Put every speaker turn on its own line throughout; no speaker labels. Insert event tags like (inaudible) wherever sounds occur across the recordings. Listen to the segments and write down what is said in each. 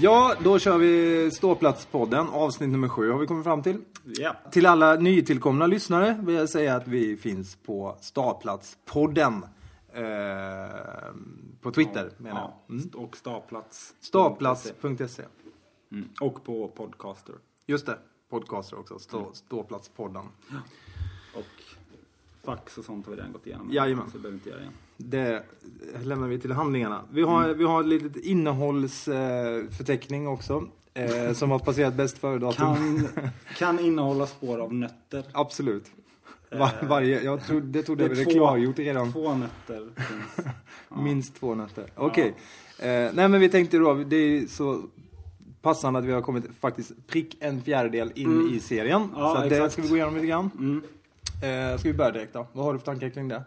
Ja, då kör vi Ståplatspodden. Avsnitt nummer sju har vi kommit fram till.
Ja.
Till alla nytillkomna lyssnare vill jag säga att vi finns på Staplatspodden. Eh, på Twitter menar jag. Mm.
Ja. Och staplats.
Staplats.se.
Mm. Och på podcaster.
Just det, podcaster också. Stå,
Mm.
Ståplatspodden.
Och fax och sånt har vi redan gått igenom.
Jajamän.
Så det behöver vi inte göra igen.
Det lämnar vi till handlingarna. Vi har,
Mm.
vi har ett litet innehållsförteckning också. Eh, som har passerat bäst före-datum.
Kan, (laughs) kan innehålla spår av nötter.
Absolut. Var, varje, jag trodde, det trodde jag
Eh, Det är
vi hade
två-
klargjort redan.
Två nötter finns.
(laughs)
Ja.
Minst två nätter. Okej. Eh, nej men vi tänkte då, det är så passande att vi har kommit faktiskt prick en fjärdedel in
Mm.
i serien. så
Ja,
att det
exakt.
ska vi gå igenom lite grann.
Mm.
Eh, ska vi börja direkt då? Vad har du för tankar kring det?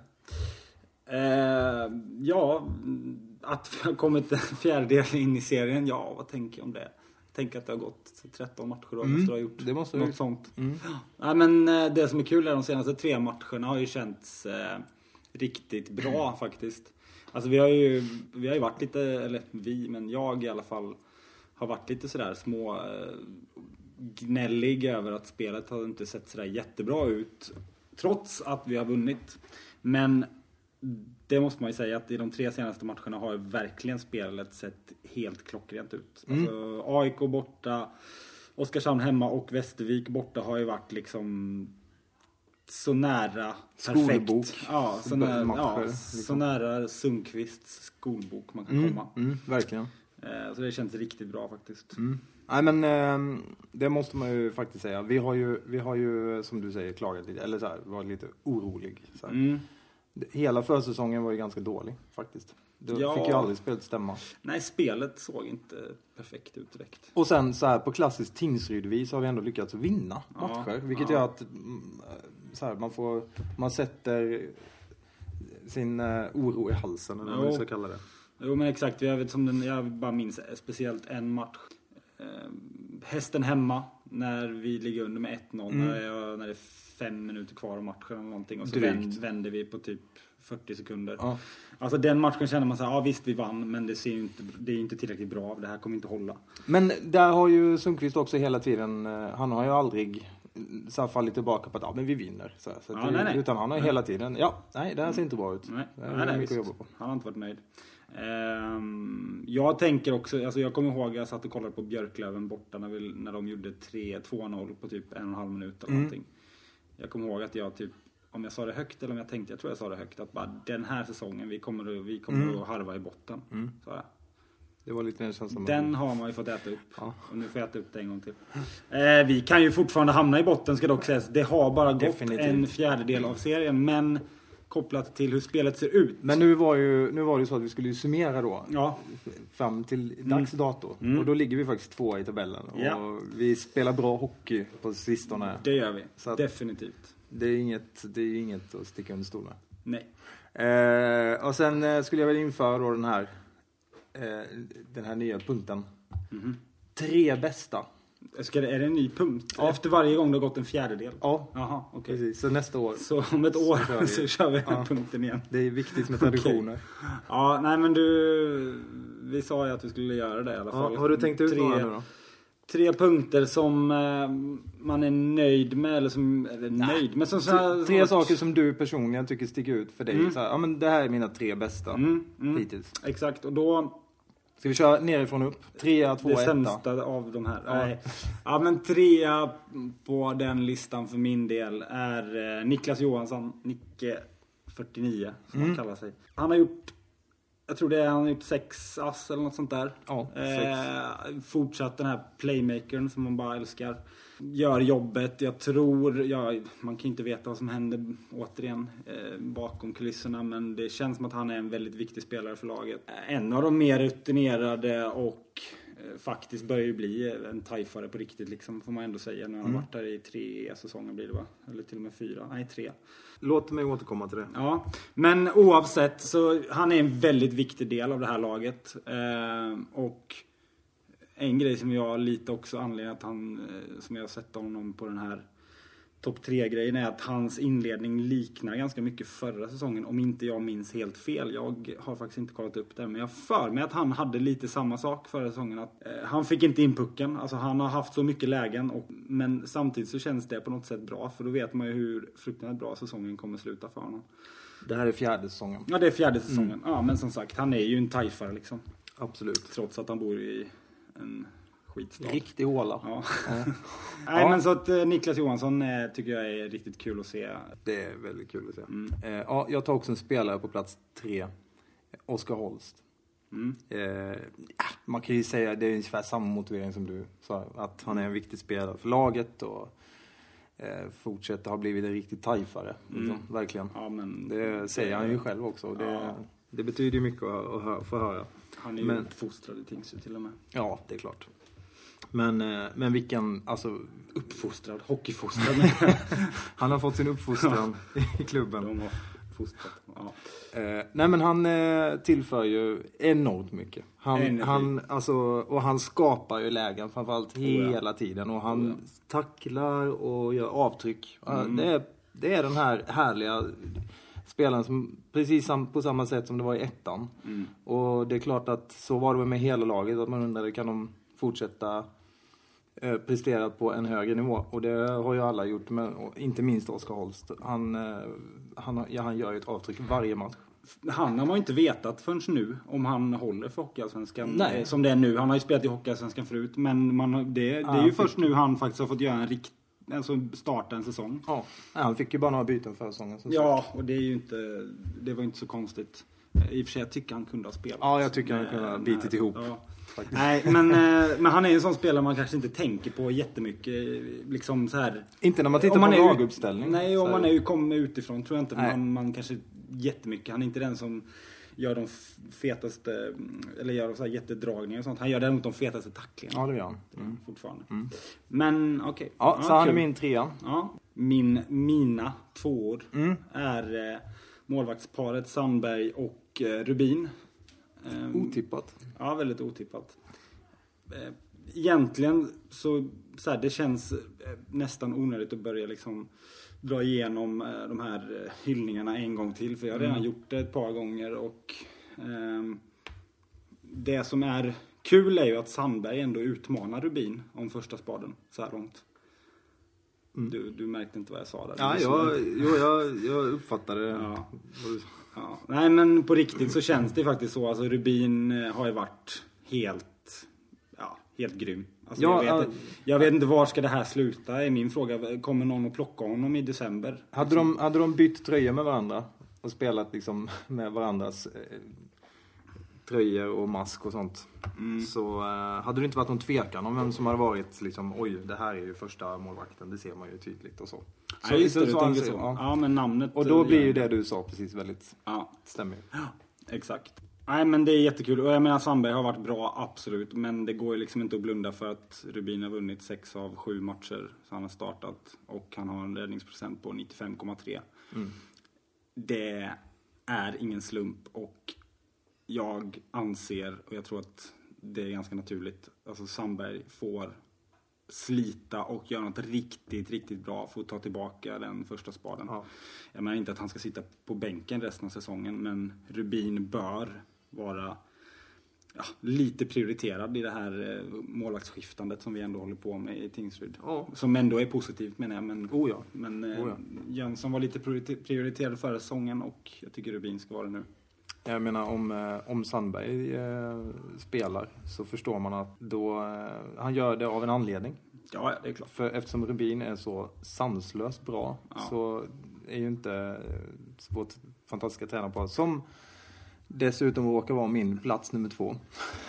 Eh, ja, att vi har kommit en fjärdedel in i serien. Ja, vad tänker jag om det? Tänk att det har gått 13 matcher då,
Mm.
måste det ha gjort.
Det måste vi
Något sånt.
mm.
Nej, men eh, det som är kul är de senaste tre matcherna har ju känts eh, riktigt bra faktiskt. Alltså vi har ju, vi har ju varit lite, eller vi, men jag i alla fall, har varit lite sådär små eh, gnällig över att spelet har inte sett sådär jättebra ut. Trots att vi har vunnit. Men det måste man ju säga att i de tre senaste matcherna har ju verkligen spelet sett helt klockrent ut.
Mm.
Alltså AIK borta, Oskarshamn hemma och Västervik borta har ju varit liksom så nära
Skolbok.
perfekt. Ja, så nära,
Matcher,
ja, så
liksom.
nära Sundqvists skolbok man kan
Mm.
komma.
Mm, verkligen.
Eh, Så det känns riktigt bra faktiskt.
Mm. Nej men ehm, det måste man ju faktiskt säga. Vi har ju, vi har ju som du säger klagat lite, eller så här, varit lite orolig. Så här.
Mm.
Hela försäsongen var ju ganska dålig faktiskt. Det
Ja.
fick ju aldrig spelet stämma.
Nej, spelet såg inte perfekt ut direkt.
Och sen så här på klassiskt Tingsrydvis har vi ändå lyckats vinna
Ja,
matcher. Vilket
ja.
gör att mm, så här, man, får, man sätter sin eh, oro i halsen eller vad man
Jo.
nu ska kalla det.
Jo men exakt, jag, vet, som den, jag bara minns speciellt en match. Eh, hästen hemma, när vi ligger under med 1-0,
Mm.
när, jag, när det är fem minuter kvar av matchen eller någonting. Och så
Drygt.
vänd, vänder vi på typ 40 sekunder.
Ja.
Alltså den matchen känner man så här, ja visst vi vann men det, ser ju inte, det är ju inte tillräckligt bra, det här kommer inte hålla.
Men där har ju Sundqvist också hela tiden, eh, han har ju aldrig mm, så här, fallit tillbaka på att ja, men vi vinner. Så här, så att
Ja,
det,
nej, nej.
Utan han har ju hela tiden, ja, nej det här ser inte bra ut.
Nej,
Det här
nej,
är
nej
mycket
visst.
att jobba på.
Han har inte varit nöjd. Ehm, jag tänker också, alltså jag kommer ihåg jag satt och kollade på Björklöven borta när, vi, när de gjorde 3-2-0 på typ en och en halv minut eller
Mm.
någonting. Jag kommer ihåg att jag typ, om jag sa det högt eller om jag tänkte, jag tror jag sa det högt, att bara den här säsongen, vi kommer, att- vi kommer
Mm.
att harva i botten.
Mm.
sa jag.
Det var lite den känslan. man-
Den har man ju fått äta upp.
Ja.
Och nu får jag äta upp det en gång till. Eh, vi kan ju fortfarande hamna i botten ska dock sägas. Det har bara gått
Definitivt.
en fjärdedel av serien. Men kopplat till hur spelet ser ut.
Men nu var, ju, nu var det ju så att vi skulle ju summera då.
Ja,
fram till dags dato.
Mm.
Och då ligger vi faktiskt två i tabellen.
Ja.
Och vi spelar bra hockey på sistone.
det gör vi.
Så att-
Definitivt.
Det är inget, det är inget att sticka under stol med.
Nej.
Eh, och sen eh, skulle jag väl införa då den här, eh, den här nya punkten.
Mhm.
Tre bästa.
Ska det, är det en ny punkt?
Ja.
Efter varje gång det har gått en fjärdedel?
Ja,
Jaha, okej.
precis. Så nästa år.
Så om ett
Så
år
kör
(laughs) så
vi.
kör vi, den
Ja.
här punkten igen.
Det är viktigt
(laughs)
med traditioner.
Ja, nej men du... Vi sa ju att vi skulle göra det i alla fall.
Ja, har du tänkt ut
Tre-
några nu då?
Tre punkter som eh, man är nöjd med eller som... Eller nöjd men som... så här-
Tre,
som har
tre
varit-
saker som du personligen tycker sticker ut för dig. Så här, ja, men det här är mina tre bästa
Mm, mm,
hittills.
exakt, och då...
Ska vi köra nerifrån upp? Trea,
det
tvåa, etta.
sämsta av de här.
Ja.
Nej. Ja men trea på den listan för min del är eh, Niklas Johansson, Nicke 49 som han kallar sig. Han har gjort, jag tror det är, han har gjort sex ass eller något sånt där.
Ja,
Eh, fortsatt den här playmakern som man bara älskar. Gör jobbet, jag tror, ja, man kan ju inte veta vad som händer återigen eh, bakom kulisserna men det känns som att han är en väldigt viktig spelare för laget. En av de mer rutinerade och eh, faktiskt börjar ju bli en tajfare på riktigt liksom får man ändå säga. Nu har han varit där i tre säsonger blir det va? Eller till och med fyra, nej tre.
Låt mig återkomma till det.
Ja, men oavsett så han är en väldigt viktig del av det här laget. Eh, och en grej som jag lite också anledningen att han, eh, som jag har sett honom på den här topp tre-grejen är att hans inledning liknar ganska mycket förra säsongen. Om inte jag minns helt fel. Jag har faktiskt inte kollat upp det. Men jag för mig att han hade lite samma sak förra säsongen. Att, eh, han fick inte in pucken. Alltså han har haft så mycket lägen. Och, men samtidigt så känns det på något sätt bra. För då vet man ju hur fruktansvärt bra säsongen kommer sluta för honom.
Det här är fjärde säsongen.
Ja, det är fjärde säsongen. Ja, men som sagt, han är ju en tajfare liksom.
Absolut.
Trots att han bor i en skitstad.
Riktig håla.
Ja. (laughs) Nej, men så att eh, Niklas Johansson eh, tycker jag är riktigt kul att se.
Det är väldigt kul att se. Eh, ja, jag tar också en spelare på plats tre. Oskar Holst.
Mm.
Eh, ja, man kan ju säga, det är ungefär samma motivering som du sa. Att han är en viktig spelare för laget och eh, fortsätter ha blivit en riktig tajfare. Liksom, Verkligen.
Ja, men
Det säger han ju själv också. och Det,
Ja.
det betyder ju mycket att, att hö- få höra.
han är ju
men-
uppfostrad i Tingsryd till och med.
Ja, det är klart. Men, eh, men vilken, alltså,
Uppfostrad, hockeyfostrad. men (laughs)
han har fått sin uppfostran i klubben.
de har fostrat. Ja.
Eh, nej men han eh, tillför ju enormt mycket. Han,
Energi.
han, alltså, och han skapar ju lägen framförallt hela tiden. Och han tacklar och gör avtryck. Ja, Det, är, det är den här härliga spelaren som, precis sam, på samma sätt som det var i ettan.
Mm.
Och det är klart att så var det väl med hela laget. Att man undrade kan de fortsätta eh, prestera på en högre nivå. Och det har ju alla gjort, men, och inte minst Oskar Holst. Han, eh, han, har- ja, han gör ju ett avtryck varje match.
Han har man ju inte vetat förrän nu om han håller för Hockeyallsvenskan.
Nej.
eh, Som det är nu. Han har ju spelat i Hockeyallsvenskan förut. Men man, har- det, det är
han
ju
fick-
först nu han faktiskt har fått göra en rikt, alltså starta en säsong.
Ja, nej, han fick ju bara några byten förra säsongen. som sagt.
Ja, och det är ju inte, det var ju inte så konstigt. I och för sig, jag tycker han kunde ha spelat.
Ja, jag tycker han kunde ha
Eh,
bitit
nej,
ihop,
ja.
faktiskt.
Nej, men, eh, men han är ju en sån spelare man kanske inte tänker på jättemycket. eh, Liksom så här.
Inte när man tittar
Om
på
är ut-
laguppställning.
Nej,
Så-
om man är ju kommer utifrån tror jag inte
Nej.
man, man kanske jättemycket. Han är inte den som gör de f- fetaste, mm, eller gör så här jättedragningar och sånt. Han gör däremot de fetaste tacklingarna
Ja, det gör han. Mm.
fortfarande. Men okej.
Ja, så han är
kul.
min trea. Mm.
Ja. Min, mina tvåor är eh, målvaktsparet Sandberg och eh, Rubin. Ehm,
Mm. Otippat.
Ja, väldigt otippat. Eh, Egentligen så, så här, det känns eh, nästan onödigt att börja liksom dra igenom eh, de här eh, hyllningarna en gång till. För jag har redan
Mm.
gjort det ett par gånger och ehm, det som är kul är ju att Sandberg ändå utmanar Rubin om första spaden så här långt. Du, du märkte inte vad jag sa där. Du
Mm. Ja, jag,
lyssnade
jo, jag, jag uppfattade
Ja.
vad du-
Ja. Nej men på riktigt så känns det faktiskt så. Alltså Rubin eh, har ju varit helt, ja, helt grym. Alltså,
Ja,
jag, vet,
ja.
jag vet inte var ska det här sluta är min fråga. Kommer någon att plocka honom i december?
Hade de, hade de bytt tröjor med varandra och spelat liksom (laughs) med varandras eh, tröjor och mask och sånt
Mm.
så eh, hade det inte varit någon tvekan om vem som hade varit liksom oj, det här är ju första målvakten, det ser man ju tydligt och så.
Ja, just det, du
han
tänker så.
säger,
Ja.
ja.
men namnet.
Och då
eh,
blir ju det du sa precis väldigt,
Ja,
stämmer ju.
exakt. Nej men det är jättekul. Och jag menar Sandberg har varit bra, absolut. Men det går ju liksom inte att blunda för att Rubin har vunnit sex av sju matcher. Så han har startat. Och han har en räddningsprocent på 95,3. Det är ingen slump och jag anser, och jag tror att det är ganska naturligt, alltså Sandberg får slita och göra något riktigt, riktigt bra för att ta tillbaka den första spaden.
Ja.
Jag menar inte att han ska sitta på bänken resten av säsongen, men Rubin bör vara ja, lite prioriterad i det här eh, målvaktsskiftandet som vi ändå håller på med i Tingsryd.
Ja.
Som ändå är positivt menar jag, men
Oh ja.
men eh,
Oh ja.
Jönsson var lite priorite- prioriterad förra säsongen och jag tycker Rubin ska vara det nu.
Jag menar om, eh, om Sandberg eh, spelar så förstår man att då, eh, han gör det av en anledning.
Ja, ja, det är klart.
För eftersom Rubin är så sanslöst bra
Ja.
så är ju inte eh, vårt fantastiska tränarpar som dessutom råkar vara min plats nummer två.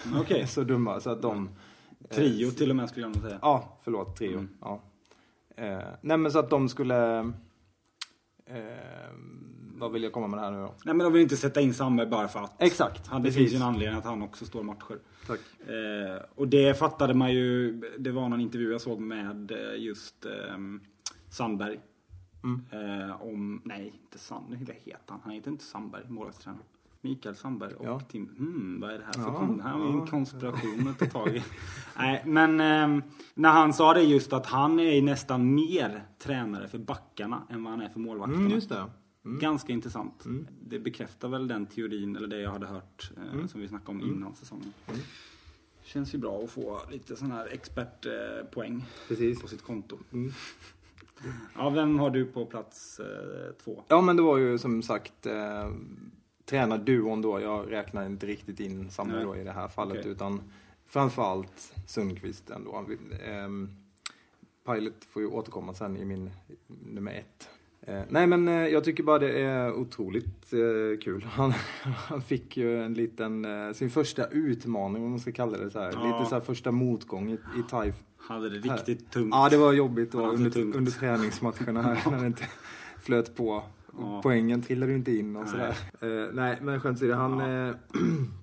(laughs)
Okej.
så dumma så att de... eh,
Trio till och med skulle jag nog säga.
Ja, förlåt, trio.
Mm.
Ja. Eh, nej men så att de skulle... Eh, vad vill jag komma med det här nu då?
Nej, men de vill inte sätta in Sandberg bara för att.
Exakt,
Han, det
precis.
finns ju en anledning att han också står matcher.
Tack.
Eh, och det fattade man ju, det var någon intervju jag såg med eh, just eh, Sandberg.
Mm.
Eh, om, nej inte Sandberg, vad heter han? Han heter inte Sandberg, målvaktstränaren. Mikael Sandberg och
Ja.
Tim... Hmm, vad är det här för
Ja,
kon- Det här var ju
ja.
en konspiration att ta tag i. (laughs) Nej, men ehm, när han sa det just att han är ju nästan mer tränare för backarna än vad han är för målvakterna.
Mm, just det.
Ganska intressant. Det bekräftar väl den teorin, eller det jag hade hört eh,
Mm.
som vi snackade om innan säsongen. Känns ju bra att få lite sån här expertpoäng
Precis. Mm.
på sitt konto. Ja, vem har du på plats eh, två?
Ja, men det var ju som sagt eh, tränarduon då. Jag räknar inte riktigt in Sandberg
Nej.
då i det här fallet,
Okej.
utan framförallt Sundqvist ändå. Ehm, Pilot får ju återkomma sen i min nummer ett. Eh, nej, men eh, jag tycker bara det är otroligt eh, kul. (laughs) Han, han fick ju en liten, eh, sin första utmaning, om man ska kalla det så här.
Ja.
Lite så här första motgång i, i TIFE
Hade det riktigt tungt.
Ja, det var jobbigt då,
Ja, det var
under,
tungt.
under träningsmatcherna här när det inte flöt på.
Ja.
Poängen trillade ju inte in och
Nej.
sådär. Eh, nej, men skämt åsido, han, eh, (clears throat)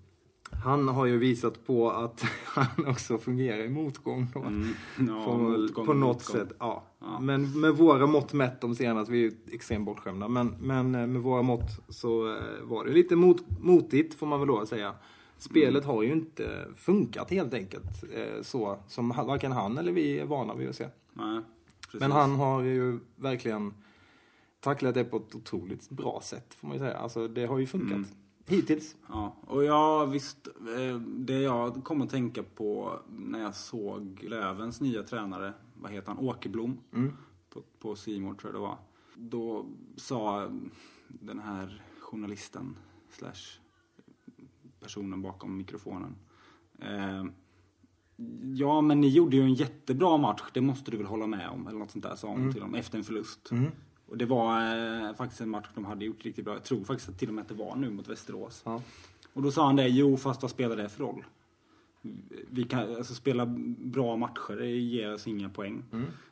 han har ju visat på att (laughs) han också fungerar i motgång. Då.
Mm, ja,
Får man väl
motgång,
på något
motgång.
sätt, ja.
Ja.
Men med våra mått mätt de senast, vi är ju extremt bortskämda, men, men eh, med våra mått så eh, var det lite mot, motigt får man väl lov att säga. Spelet
Mm.
har ju inte funkat helt enkelt eh, så som han- varken han eller vi är vana vid att se.
Nej, precis.
Men han har ju verkligen tacklat det på ett otroligt bra sätt får man ju säga. Alltså det har ju funkat.
Mm.
Hittills.
Ja, och jag visst, eh, det jag kom att tänka på när jag såg Lövens nya tränare, vad heter han, Åkerblom, på, på C More tror jag det var. Då sa den här journalisten, slash personen bakom mikrofonen, eh, Ja, men ni gjorde ju en jättebra match, det måste du väl hålla med om? Eller något sånt där sa hon till dem efter en förlust. Och det var eh, faktiskt en match de hade gjort riktigt bra. Jag tror faktiskt att till och med att det var nu mot Västerås.
Ja.
Och då sa han det, jo fast vad spelar det för roll? Vi kan, alltså spela bra matcher, det ger oss inga poäng.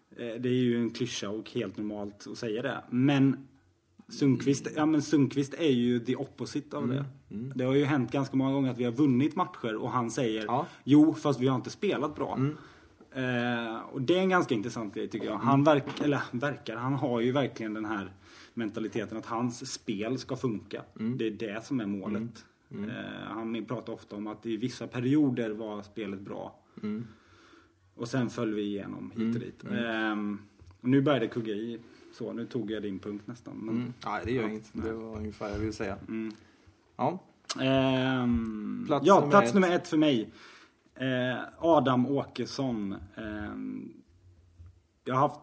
Eh, Det är ju en klyscha och helt normalt att säga det. Men Sundqvist, ja, men Sundqvist är ju the opposite av det. Det har ju hänt ganska många gånger att vi har vunnit matcher och han säger
Ja.
jo fast vi har inte spelat bra. Eh, och det är en ganska intressant grej tycker jag. Han verk, eller, verkar, han har ju verkligen den här mentaliteten att hans spel ska funka. Det är det som är målet. Eh, han pratar ofta om att i vissa perioder var spelet bra. Och sen föll vi igenom hit och dit. Ehm, och nu började det kugga i. Så, nu tog jag din punkt nästan. Men,
Mm. Nej, det gör inget. Det var ungefär jag ville säga.
Mm.
Ja.
Ehm,
Plats
ja,
nummer
plats
ett.
nummer ett för mig. Eh, Adam Åkesson. Ehm, jag har haft...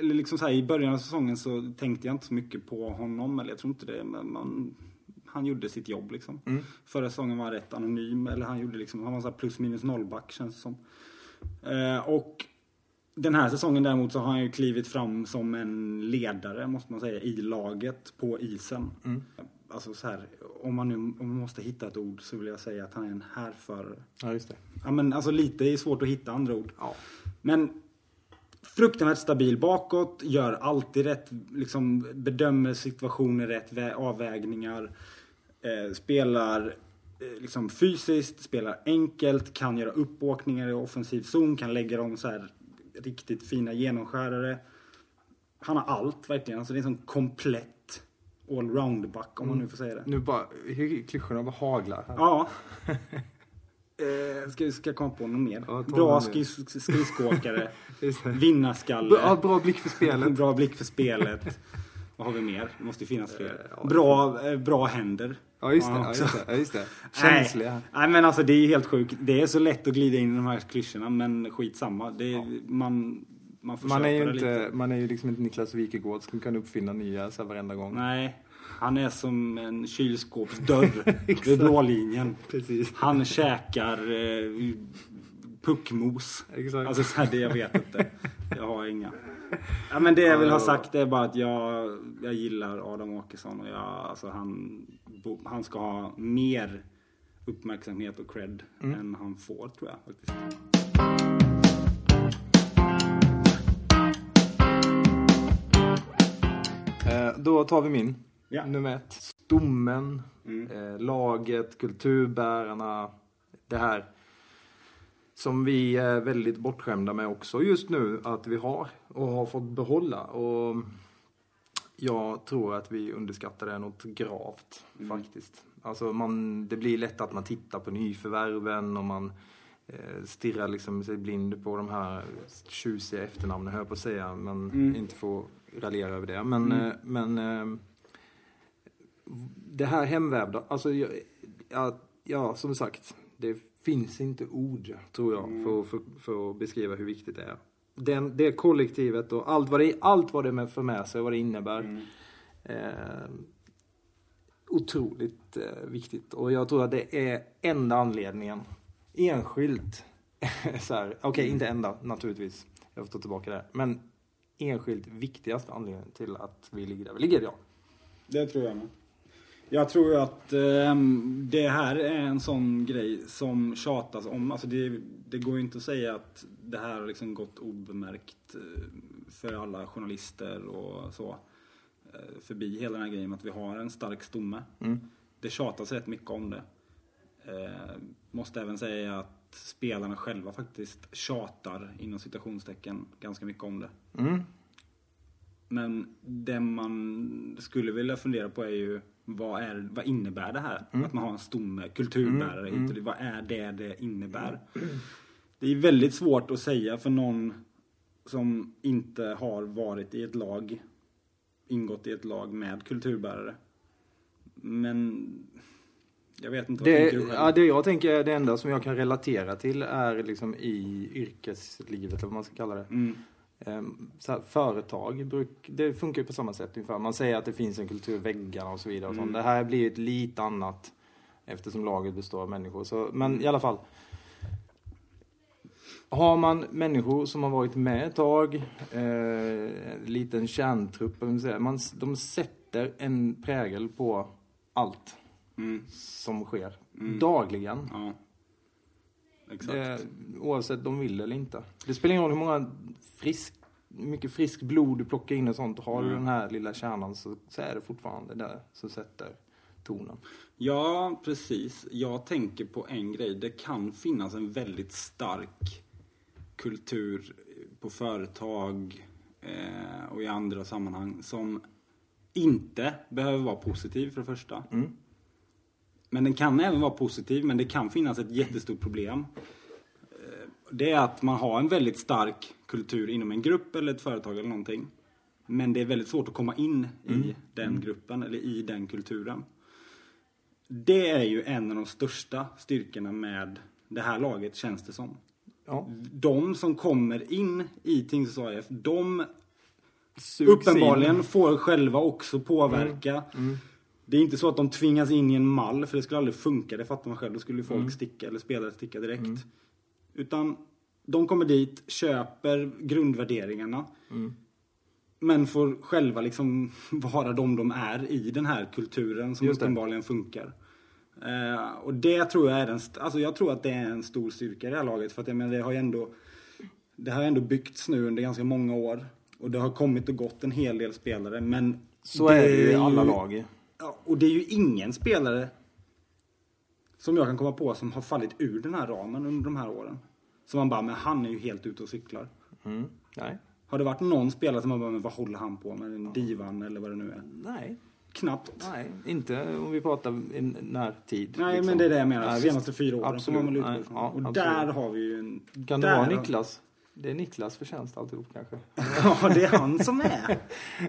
Eller liksom så här, I början av säsongen så tänkte jag inte så mycket på honom. Eller jag tror inte det. Men man, han gjorde sitt jobb liksom.
Mm.
Förra säsongen var han rätt anonym. Eller han gjorde liksom, han var så här plus minus nollback känns det som. Eh, och den här säsongen däremot så har han ju klivit fram som en ledare måste man säga i laget på isen. Alltså så här, om man nu om man måste hitta ett ord så vill jag säga att han är en härförare.
ja, just det.
Ja men alltså lite är svårt att hitta andra ord.
Ja.
Men fruktansvärt stabil bakåt, gör alltid rätt, liksom bedömer situationer rätt, vä- avvägningar. Eh, spelar eh, liksom fysiskt, spelar enkelt, kan göra uppåkningar i offensiv zon, kan lägga dem så här riktigt fina genomskärare. Han har allt verkligen, alltså det är en sån komplett allround-back om man nu får säga det.
Nu bara, hur klyschorna bara haglar här.
Ja. (laughs) Eh, ska, ska jag komma på något mer?
Ja, ta
Bra
något mer.
skris, skridskoåkare,
Just det.
vinnarskalle.
Bra, ja, bra blick för spelet.
Bra blick för spelet. Vad har vi mer? Det måste ju finnas fler.
ja.
Bra, eh, bra händer.
Ja, just det.
Har han
Ja,
också.
just det. Ja, just det.
Nej.
Känsliga.
Nej men alltså det är helt sjukt. Det är så lätt att glida in i de här klyschorna men skitsamma. Det är, man, man får
Man
köpa
är, ju
det lite.
inte, man är ju liksom inte Niklas Wikegård som kan uppfinna nya så här varenda gång.
Nej, han är som
(laughs)
en kylskåpsdörr vid
Exakt.
blålinjen.
Precis.
Han käkar eh, puckmos.
Exakt.
Alltså så här, det jag vet inte. Jag har inga. Ja, men det jag vill ha sagt är bara att jag, jag gillar Adam Åkesson och jag, alltså han, bo- han ska ha mer uppmärksamhet och cred än han får tror jag. Faktiskt.
Eh, Då tar vi min.
Ja.
Nummer ett. Stommen, eh, laget, kulturbärarna. Det här som vi är väldigt bortskämda med också just nu att vi har och har fått behålla. Och Jag tror att vi underskattar det något gravt faktiskt. Alltså man, det blir lätt att man tittar på nyförvärven och man eh, stirrar liksom sig blind på de här tjusiga efternamnen, höll jag på att säga. Men inte får raljera över det. Men, eh, men eh, det här hemvävda, alltså jag, ja, ja, som sagt, det finns inte ord tror jag för, för, för att beskriva hur viktigt det är. Den, det kollektivet och allt vad det, allt vad det med- för med sig och vad det innebär. Eh, otroligt eh, viktigt och jag tror att det är enda anledningen, enskilt, (laughs) så här, okej inte enda naturligtvis, jag får ta tillbaka det, här. men enskilt viktigaste anledningen till att vi ligger där vi ligger idag.
Det tror jag med. Jag tror ju att ehm, det här är en sån grej som tjatas om. Alltså det, det går ju inte att säga att det här har liksom gått obemärkt eh, för alla journalister och så. eh, Förbi hela den här grejen med att vi har en stark stomme.
Mm.
Det tjatas rätt mycket om det. Eh, måste även säga att spelarna själva faktiskt tjatar inom citationstecken ganska mycket om det.
Mm.
Men det man skulle vilja fundera på är ju vad, är, vad innebär det här?
Mm.
Att man har en stomme, kulturbärare hit och dit. Vad är det det innebär? Det är väldigt svårt att säga för någon som inte har varit i ett lag, ingått i ett lag med kulturbärare. Men jag vet inte, vad
Det,
tänker du själv?
ja, det jag tänker är det enda som jag kan relatera till är liksom i yrkeslivet eller vad man ska kalla det.
Mm.
Ehm, Så här, företag, bruk, det funkar ju på samma sätt ungefär. Man säger att det finns en kultur, väggarna och så vidare. Och sånt. Det här blir ju ett lite annat eftersom laget består av människor. Så, men i alla fall. Har man människor som har varit med ett tag, eh, en liten kärntrupp, eller vad man, säger, man, de sätter en prägel på allt
Mm.
som sker dagligen.
Ja. Exakt.
Eh, oavsett de vill eller inte. Det spelar ingen roll hur många frisk, mycket frisk blod du plockar in och sånt. Har du
Mm.
den här lilla kärnan så, så är det fortfarande där som sätter tonen.
Ja, precis. Jag tänker på en grej. Det kan finnas en väldigt stark kultur på företag eh, och i andra sammanhang som inte behöver vara positiv för det första.
Mm.
Men den kan även vara positiv, men det kan finnas ett jättestort problem. Eh, Det är att man har en väldigt stark kultur inom en grupp eller ett företag eller någonting. Men det är väldigt svårt att komma in i den gruppen eller i den kulturen. Det är ju en av de största styrkorna med det här laget, känns det som.
Ja,
De som kommer in i Tingsryds AIF, de
sugs
uppenbarligen får själva också påverka.
Mm.
Det är inte så att de tvingas in i en mall, för det skulle aldrig funka, det fattar man själv. Då skulle ju
Mm.
folk sticka, eller spelare sticka direkt. Utan de kommer dit, köper grundvärderingarna.
Mm.
Men får själva liksom (laughs) vara de de är i den här kulturen som
Just det.
uppenbarligen funkar. Eh, och det tror jag är en, st- alltså jag tror att det är en stor styrka i det här laget. För att jag menar, det har ju ändå, det här har ändå byggts nu under ganska många år. Och det har kommit och gått en hel del spelare. Men
Så är det ju i
är
alla
ju-
lag.
Ja, och det är ju ingen spelare som jag kan komma på som har fallit ur den här ramen under de här åren. Som man bara, men han är ju helt ute och cyklar.
Mm. Nej.
Har det varit någon spelare som man bara, men vad håller han på med? En divan eller vad det nu är.
Nej.
Knappt.
Nej, inte om vi pratar i närtid.
Nej,
liksom.
men det är det jag menar.
Nej,
Senaste fyra åren.
Absolut.
Absolut. Man väl utgå
Nej,
ifrån.
ja,
och
absolut.
där har vi ju en... (laughs)
Kan det
där
vara
har-
Niklas? Det är Niklas förtjänst alltihop kanske.
Ja, det är han som är.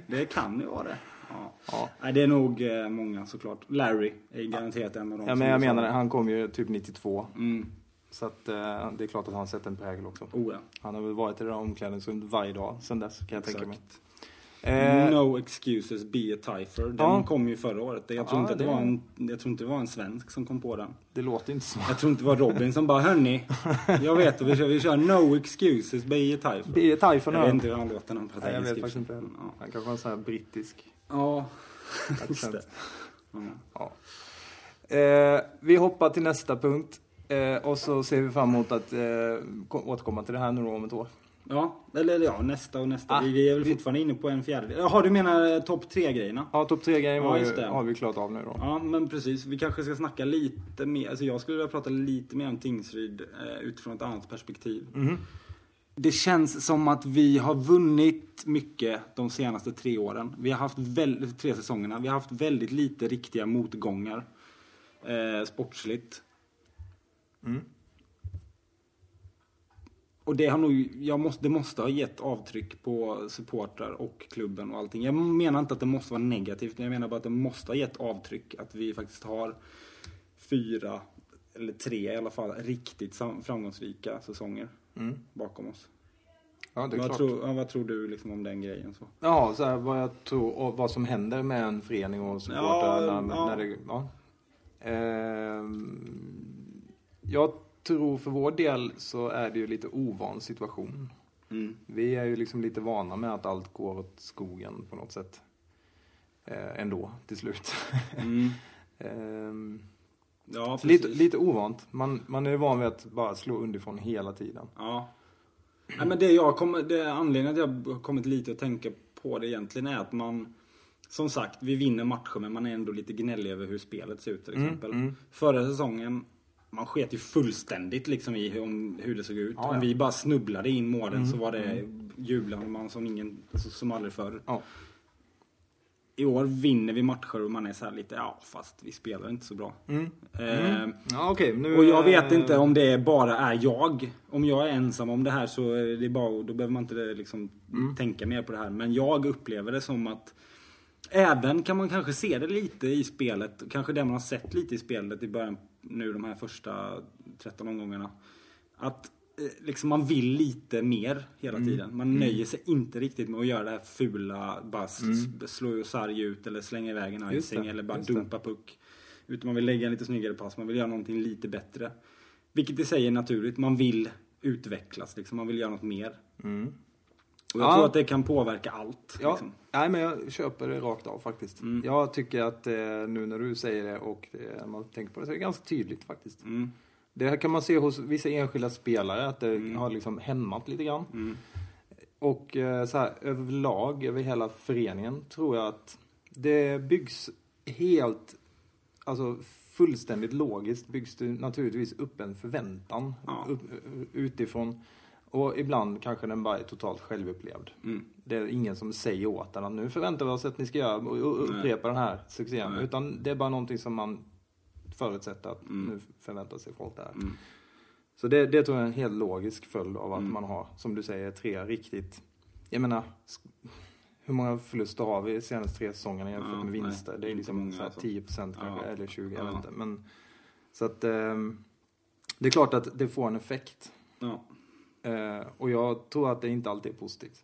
Det kan ju vara det. Ja.
Ja.
Nej, det är nog eh, många såklart. Larry är garanterat en av dem.
Ja,
som
men jag
är så-
menar det. Han kom ju typ 92.
Mm.
Så att, eh, det är klart att han sätter en prägel också.
Oh, ja.
Han har väl varit i det där omklädningsrummet varje dag sen dess kan jag tänka mig.
Exakt.
Eh,
No excuses be a tyfer. Den
Ja.
kom ju förra året. Jag tror,
Ja,
inte att det
det-
var en, jag tror inte det var en svensk som kom på den.
Det låter inte så.
Jag tror inte det var Robin som bara hörni, jag vet att vi kör, vi kör no excuses be a tyfer.
Det är Typhon
Jag vet
Öhn.
inte hur han låter när han pratar
Nej, jag vet
engelska.
faktiskt inte heller.
Ja.
Han kanske har en sån här brittisk
Ja, (laughs) just det.
accent.
Ja.
Ja. Eh, vi hoppar till nästa punkt. Eh, och så ser vi fram emot att eh, ko- återkomma till det här nu då om ett år.
Ja, eller ja, nästa och nästa.
Ah,
vi, vi är väl
vi-
fortfarande inne på en fjärdedel. Jaha, du menar eh, topp tre-grejerna?
Ja, topp tre grejer
Ja,
var ju-
just det.
har vi klarat av nu då.
Ja, men precis. Vi kanske ska snacka lite mer. Alltså jag skulle vilja prata lite mer om Tingsryd eh, utifrån ett annat perspektiv. Det känns som att vi har vunnit mycket de senaste tre åren. Vi har haft väl, tre säsongerna. Vi har haft väldigt lite riktiga motgångar eh, sportsligt.
Mm.
Och det, har nog, jag måste, det måste ha gett avtryck på supportrar och klubben och allting. Jag menar inte att det måste vara negativt, men jag menar bara att det måste ha gett avtryck. Att vi faktiskt har fyra, eller tre i alla fall, riktigt sam- framgångsrika säsonger
Mm.
bakom oss.
Ja, det är
Vad
klart.
tror, ja, vad tror du liksom om den grejen? Så?
Ja, så här, vad jag tror och vad som händer med en förening och supportrar
Ja,
när,
ja.
när det... Ja. Ehm, jag tror för vår del så är det ju lite ovan situation.
Mm.
Vi är ju liksom lite vana med att allt går åt skogen på något sätt. Eh, ändå, till slut. (laughs)
Mm.
Ehm,
(laughs) Ja,
så lite,
precis.
lite ovant. Man, man är van vid att bara slå underifrån hela tiden.
Ja. Nej, men det jag kommer, det anledningen att jag har kommit lite att tänka på det egentligen är att man som sagt, vi vinner matcher men man är ändå lite gnällig över hur spelet ser ut till exempel.
mm.
Förra säsongen, man sket ju fullständigt liksom i hur, om, hur det såg ut.
Ja,
Om
ja. Mm,
vi bara snubblade in målen så var det jublande man som, ingen, alltså, som aldrig förr.
Ja.
I år vinner vi matcher och man är så här lite, ja fast vi spelar inte så bra.
Mm.
Eh,
Ja, okej. nu- eh,
och jag vet inte om det bara är jag. Om jag är ensam om det här så är det bara, då behöver man inte liksom tänka mer på det här. Men jag upplever det som att även kan man kanske se det lite i spelet. Kanske det man har sett lite i spelet i början nu de här första 13 omgångarna. Att eh, liksom man vill lite mer hela
Mm.
tiden. Man nöjer sig inte riktigt med att göra det här fula, bara mm. slå sarg ut eller slänga iväg en
Just
icing
det,
eller bara
just det.
dumpa puck. Utan man vill lägga en lite snyggare pass, man vill göra någonting lite bättre. Vilket i sig är naturligt, man vill utvecklas liksom, man vill göra något mer.
Mm.
Och jag
Ja.
tror att det kan påverka allt.
Ja,
Liksom. Mm.
nej men jag köper det rakt av faktiskt. Jag tycker att eh, nu när du säger det och eh, man tänker på det så är det ganska tydligt faktiskt.
Mm.
Det här kan man se hos vissa enskilda spelare att det har liksom hämmat lite grann.
Mm.
Och eh, så här överlag, över hela föreningen, tror jag att det byggs helt, alltså fullständigt logiskt byggs det naturligtvis upp en förväntan
Ja.
upp, eh, utifrån. Och ibland kanske den bara är totalt självupplevd.
Mm.
Det är ingen som säger åt den att nu förväntar vi oss att ni ska göra och och upprepa den här succén.
Nej.
Utan det är bara någonting som man förutsätter att
Mm.
nu förväntar sig folk det här.
Mm.
Så det, det tror jag är en helt logisk följd av att
Mm.
man har, som du säger, tre riktigt... Jag menar, sk- hur många förluster har vi de senaste tre säsongerna jämfört
Ja,
med
nej,
vinster? det är
inte
liksom
många,
så här
alltså.
10 procent kanske,
Ja.
eller 20, jag
Ja.
vet inte. Men, så att... ehm, det är klart att det får en effekt.
Ja.
Eh, och jag tror att det inte alltid är positivt.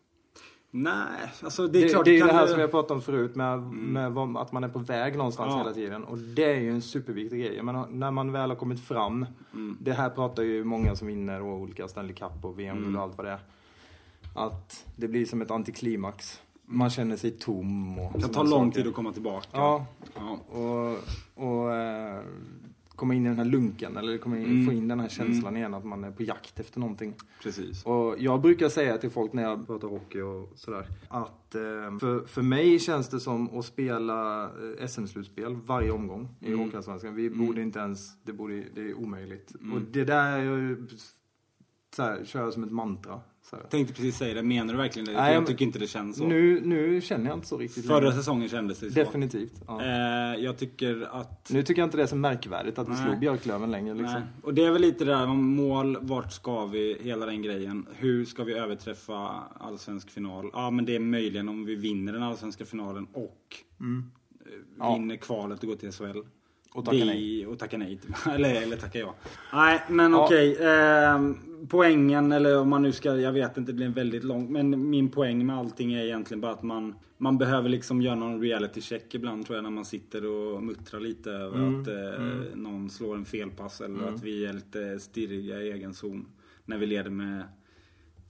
Nej, alltså
Det,
det är
det,
klart.
är ju
kan
det här
det-
som jag pratade om förut med, med vad, att man är på väg någonstans
Ja.
hela tiden. Och det är ju en superviktig grej. Jag menar, när man väl har kommit fram.
Mm.
Det här pratar ju många som vinner och olika Stanley Cup och VM
Mm.
och allt vad det är. Att det blir som ett antiklimax. Man känner sig tom. Och
Det kan
såna
ta lång
saker.
tid att komma tillbaka.
Ja,
Ja.
och, och eh, komma in i den här lunken. Eller komma in,
Mm.
få in den här känslan igen att man är på jakt efter någonting.
precis.
Och jag brukar säga till folk när jag pratar hockey och sådär att eh, för, för mig känns det som att spela eh, SM-slutspel varje omgång i
Mm. Mm.
Hockeyallsvenskan. Vi borde inte ens, det, borde, det är omöjligt. Och det där är ju, såhär, kör jag som ett mantra. Såhär.
Jag tänkte precis säga det, menar du verkligen det?
Nej,
jag
men-
tycker inte det känns så.
Nu, nu känner jag inte så riktigt
Förra
längre.
säsongen kändes det så.
Definitivt. Ja.
Eh, jag tycker att...
Nu tycker jag inte det är så märkvärdigt att vi
Nej.
slog Björklöven längre liksom.
Nej. Och det är väl lite det där om mål, vart ska vi, hela den grejen. Hur ska vi överträffa allsvensk final? Ja men det är möjligen om vi vinner den allsvenska finalen och eh,
Ja.
vinner kvalet och går till SHL.
Mm. Och tackar
Vi-
nej.
Och tackar nej. till- (laughs) eller, eller tackar ja. Nej men
Ja.
okej. ehm, poängen eller om man nu ska, jag vet inte, det blir väldigt långt. Men min poäng med allting är egentligen bara att man, man behöver liksom göra någon reality check ibland tror jag när man sitter och muttrar lite över
Mm.
att eh, någon slår en felpass eller att vi är lite stirriga i egen zon. När vi leder med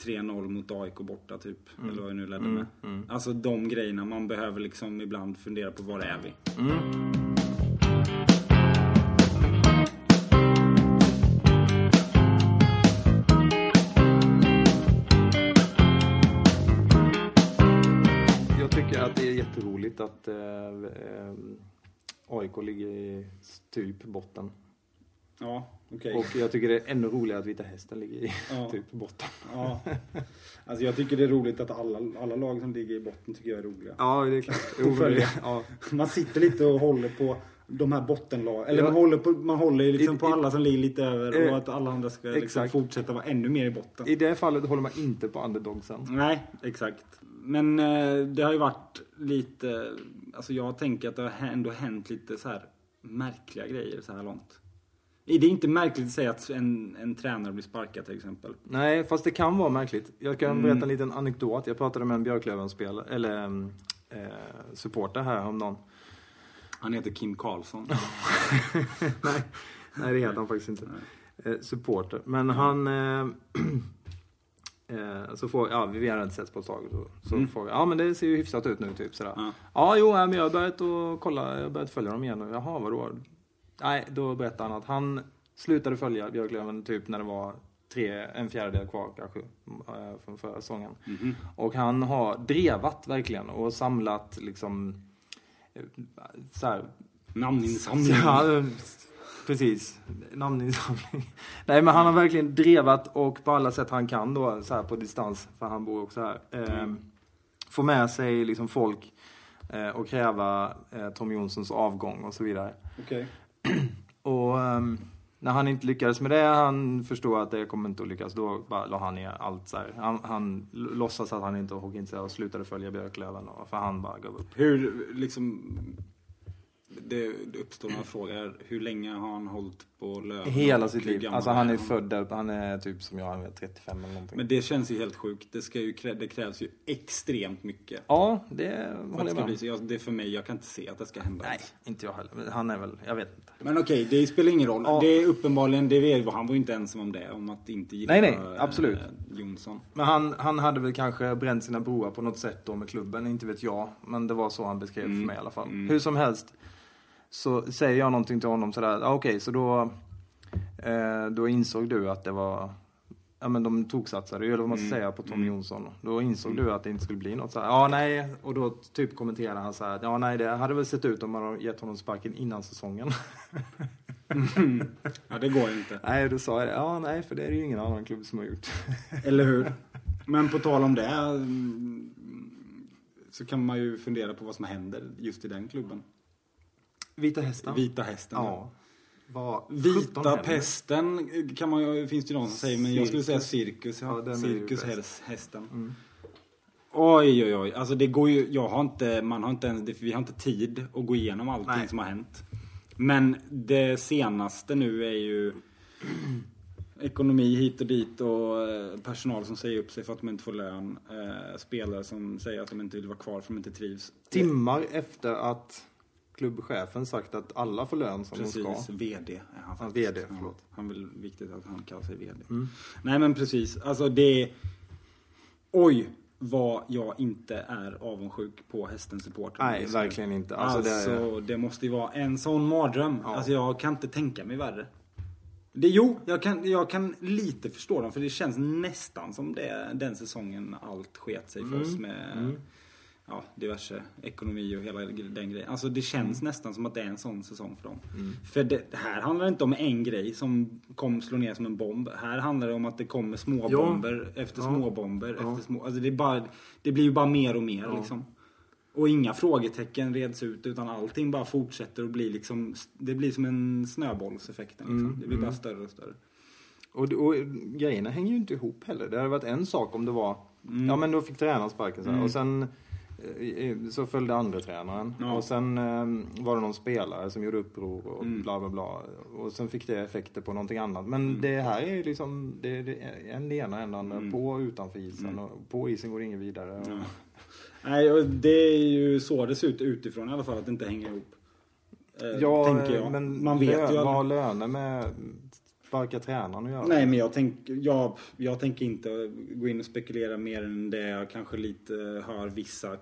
3-0 mot AIK borta typ.
Mm.
Eller vad vi nu ledde med. Alltså de grejerna. Man behöver liksom ibland fundera på var är vi?
Mm. Jag tycker att det är jätteroligt att eh, eh, AIK ligger i typ botten.
Ja, okej.
Och jag tycker det är ännu roligare att Vita Hästen ligger i
Ja.
typ botten.
Ja. Alltså jag tycker det är roligt att alla, alla lag som ligger i botten tycker jag är roliga.
Ja, det är klart. Jo, men det-
följa.
Ja.
Man sitter lite och håller på de här bottenlagen. Eller
Ja.
man håller, på, man håller ju liksom
I-
på
i-
alla som ligger lite över
Eh,
och att alla andra ska liksom
exakt.
fortsätta vara ännu mer i botten.
I det fallet håller man inte på underdogsen.
Nej, exakt. Men eh, det har ju varit lite, alltså jag tänker att det har hä- ändå hänt lite så här märkliga grejer så här långt. Det är inte märkligt att säga att en, en tränare blir sparkad till exempel.
Nej, fast det kan vara märkligt. Jag kan
Mm.
berätta en liten anekdot. Jag pratade med en Björklöven-spelare, eller mm, eh, supporter här
(laughs)
häromdagen.
Han heter Kim Karlsson.
nej, nej, det heter han faktiskt inte. Eh, supporter. Men
Mm.
han... Eh, (clears throat) eh, så får, ja, vi har inte setts på ett tag. Så, så
Mm.
frågar jag, ja men det ser ju hyfsat ut nu typ sådär.
Ja.
Ja, jo, nej, men jag har börjat att kolla, jag har börjat följa dem igen nu. Jaha, vadå? Nej, då berättar han att han slutade följa Björklöven typ när det var tre, en fjärdedel kvar kanske, eh, från förra säsongen.
Mhm.
Och han har drevat verkligen och samlat liksom eh, så här,
Namninsamling.
Ja, eh, precis. Namninsamling. Nej, men han har verkligen drevat och på alla sätt han kan då, så här på distans, för han bor också här. Eh,
Mm.
få med sig liksom folk eh, och kräva eh, Tom Jonssons avgång och så vidare.
Okej.
Och ehm, när han inte lyckades med det, han förstod att det kommer inte att lyckas, då bara la han ner allt så här. Han, han l- låtsas att han inte hugg in sig och slutade följa Björklöven, och, för han bara gav upp.
Hur liksom... Det det uppstår några frågor. Hur länge har han hållit på Löven?
Hela
Och
sitt
hur
liv.
gammal
Alltså han är
han?
född där uppe, han är typ som jag, han är 35 eller någonting.
Men det känns ju helt sjukt. Det, ska ju, krä- det krävs ju extremt mycket.
Ja, det
För att
håller jag
det, ska
med
bli
om.
så. Jag, det är för mig, jag kan inte se att det ska hända.
Nej, inte jag heller. Men Han är väl, jag vet inte.
Men okej, det spelar ingen roll.
Ja.
Det är uppenbarligen, det är, han var ju inte ensam om det. Om att inte gilla
Nej, nej,
eh,
absolut.
Jonsson. (laughs)
Men han, han hade väl kanske bränt sina broar på något sätt då med klubben, inte vet jag. Men det var så han beskrev
Mm,
för mig i alla fall.
mm.
Hur som helst så säger jag någonting till honom sådär, ah, okej så då, eh, då insåg du att det var, ja men de toksatsade ju, eller vad man ska
Mm,
säga, på Tom
mm.
Jonsson. Då insåg du att det inte skulle bli något såhär, ja nej, och då typ kommenterade han såhär, ja nej det hade väl sett ut om man hade gett honom sparken innan säsongen.
Ja, det går ju inte.
nej, då sa jag det, ja nej för det är det ju ingen annan klubb som har gjort.
Eller hur? Men på tal om det. mm, Så kan man ju fundera på vad som händer just i den klubben.
Vita hästen.
Vita hästen.
Ja. Vad sjutton
Vita
händer?
pesten kan man, ju- finns det ju någon som säger, men jag skulle säga cirkus.
Ja,
Ja,
den är ju
cirkus
bäst.
häls- hästen.
Mm.
Oj, oj, oj. Alltså det går ju, jag har inte, man har inte ens, det- vi har inte tid att gå igenom allting
Nej.
som har hänt. Men det senaste nu är ju ekonomi hit och dit och eh, personal som säger upp sig för att de inte får lön. Eh, Spelare som säger att de inte vill vara kvar för att de inte trivs. Eh,
Timmar efter att klubbchefen sagt att alla får lön som de
Precis,
ska.
VD är han
Ja,
faktiskt.
VD, förlåt.
Han vill viktigt att han kallar sig VD.
Mm.
Nej men precis, alltså det... Oj, vad jag inte är avundsjuk på hästens support.
Nej, verkligen inte. Alltså,
Alltså,
Det är,
det måste ju vara en sån mardröm.
Ja.
Alltså jag kan inte tänka mig värre. Det, jo, jag kan, jag kan lite förstå dem för det känns nästan som det den säsongen allt sket sig
Mm.
för oss med ja, diverse ekonomi och hela den grejen. Alltså det känns
Mm.
nästan som att det är en sån säsong för dem. För det det här handlar inte om en grej som kom slå ner som en bomb. Här handlar det om att det kommer småbomber efter
Ja.
småbomber.
Ja.
Efter små, alltså det, är bara, det blir ju bara mer och mer
Ja.
liksom. Och inga frågetecken reds ut utan allting bara fortsätter och blir liksom Det blir som en snöbollseffekten liksom.
Mm,
Det blir bara
mm.
större och större.
och, och grejerna hänger ju inte ihop heller. Det hade varit en sak om det var,
Mm.
ja men då fick tränaren sparken så här.
Mm.
och sen eh, så följde andra tränaren
Ja.
och sen eh, var det någon spelare som gjorde uppror och
Mm.
bla bla bla. Och sen fick det effekter på någonting annat. Men det här är ju liksom, det, det, är en det ena änden
Mm.
på och utanför isen.
Mm.
Och på isen går det inget vidare. Och,
Ja. Nej, och det är ju så det ser ut utifrån i alla fall att det inte hänger ihop. Eh,
Ja,
tänker jag.
men
Man vet ju
lön,
aldrig.
vad har löner med sparka tränaren att göra?
Nej, men jag, tänk, jag, jag tänker inte gå in och spekulera mer än det jag kanske lite hör vissa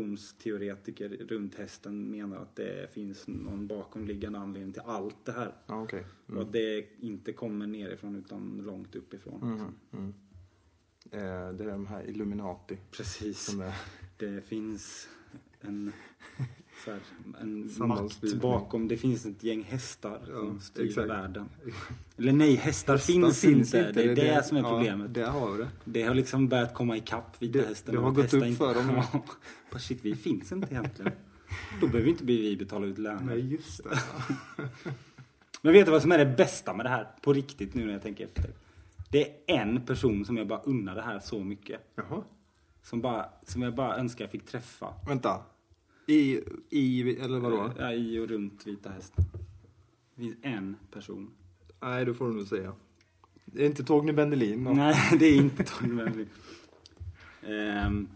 konspirationsteoretiker runt hästen menar att det finns någon bakomliggande anledning till allt det här.
Ja, okej. Mm.
Och att det inte kommer nerifrån utan långt uppifrån.
Mm. Mm. Mm. Eh, (laughs) det är de här Illuminati
Precis.
som är...
Det finns en så här, en makt
Samhällsbildning.
bakom. Det finns ett gäng hästar som
Ja,
styr
exakt.
världen. Eller nej, hästar,
Hästar
finns, inte. Det är det, som är problemet.
Ja, där har vi det.
Det har liksom börjat komma ikapp vita
Det-
hästen.
det
och
har
att
gått
hästar
upp för dem.
(laughs) Ja. Bara, Shit, vi finns inte
(laughs)
egentligen. Då behöver inte vi betala ut löner.
Nej, just det.
Men vet du vad som är det bästa med det här? På riktigt nu när jag tänker efter. Det är en person som jag bara unnar det här så mycket.
Jaha.
Som, bara, som jag bara önskar jag fick träffa.
Vänta. I, i eller vadå?
Ja, I och runt Vita Hästen. Det finns en person.
Nej, det får du nog säga. Det är inte Torgny Bendelin. va?
Nej, (laughs) det är inte Tony Wembley. Ehm,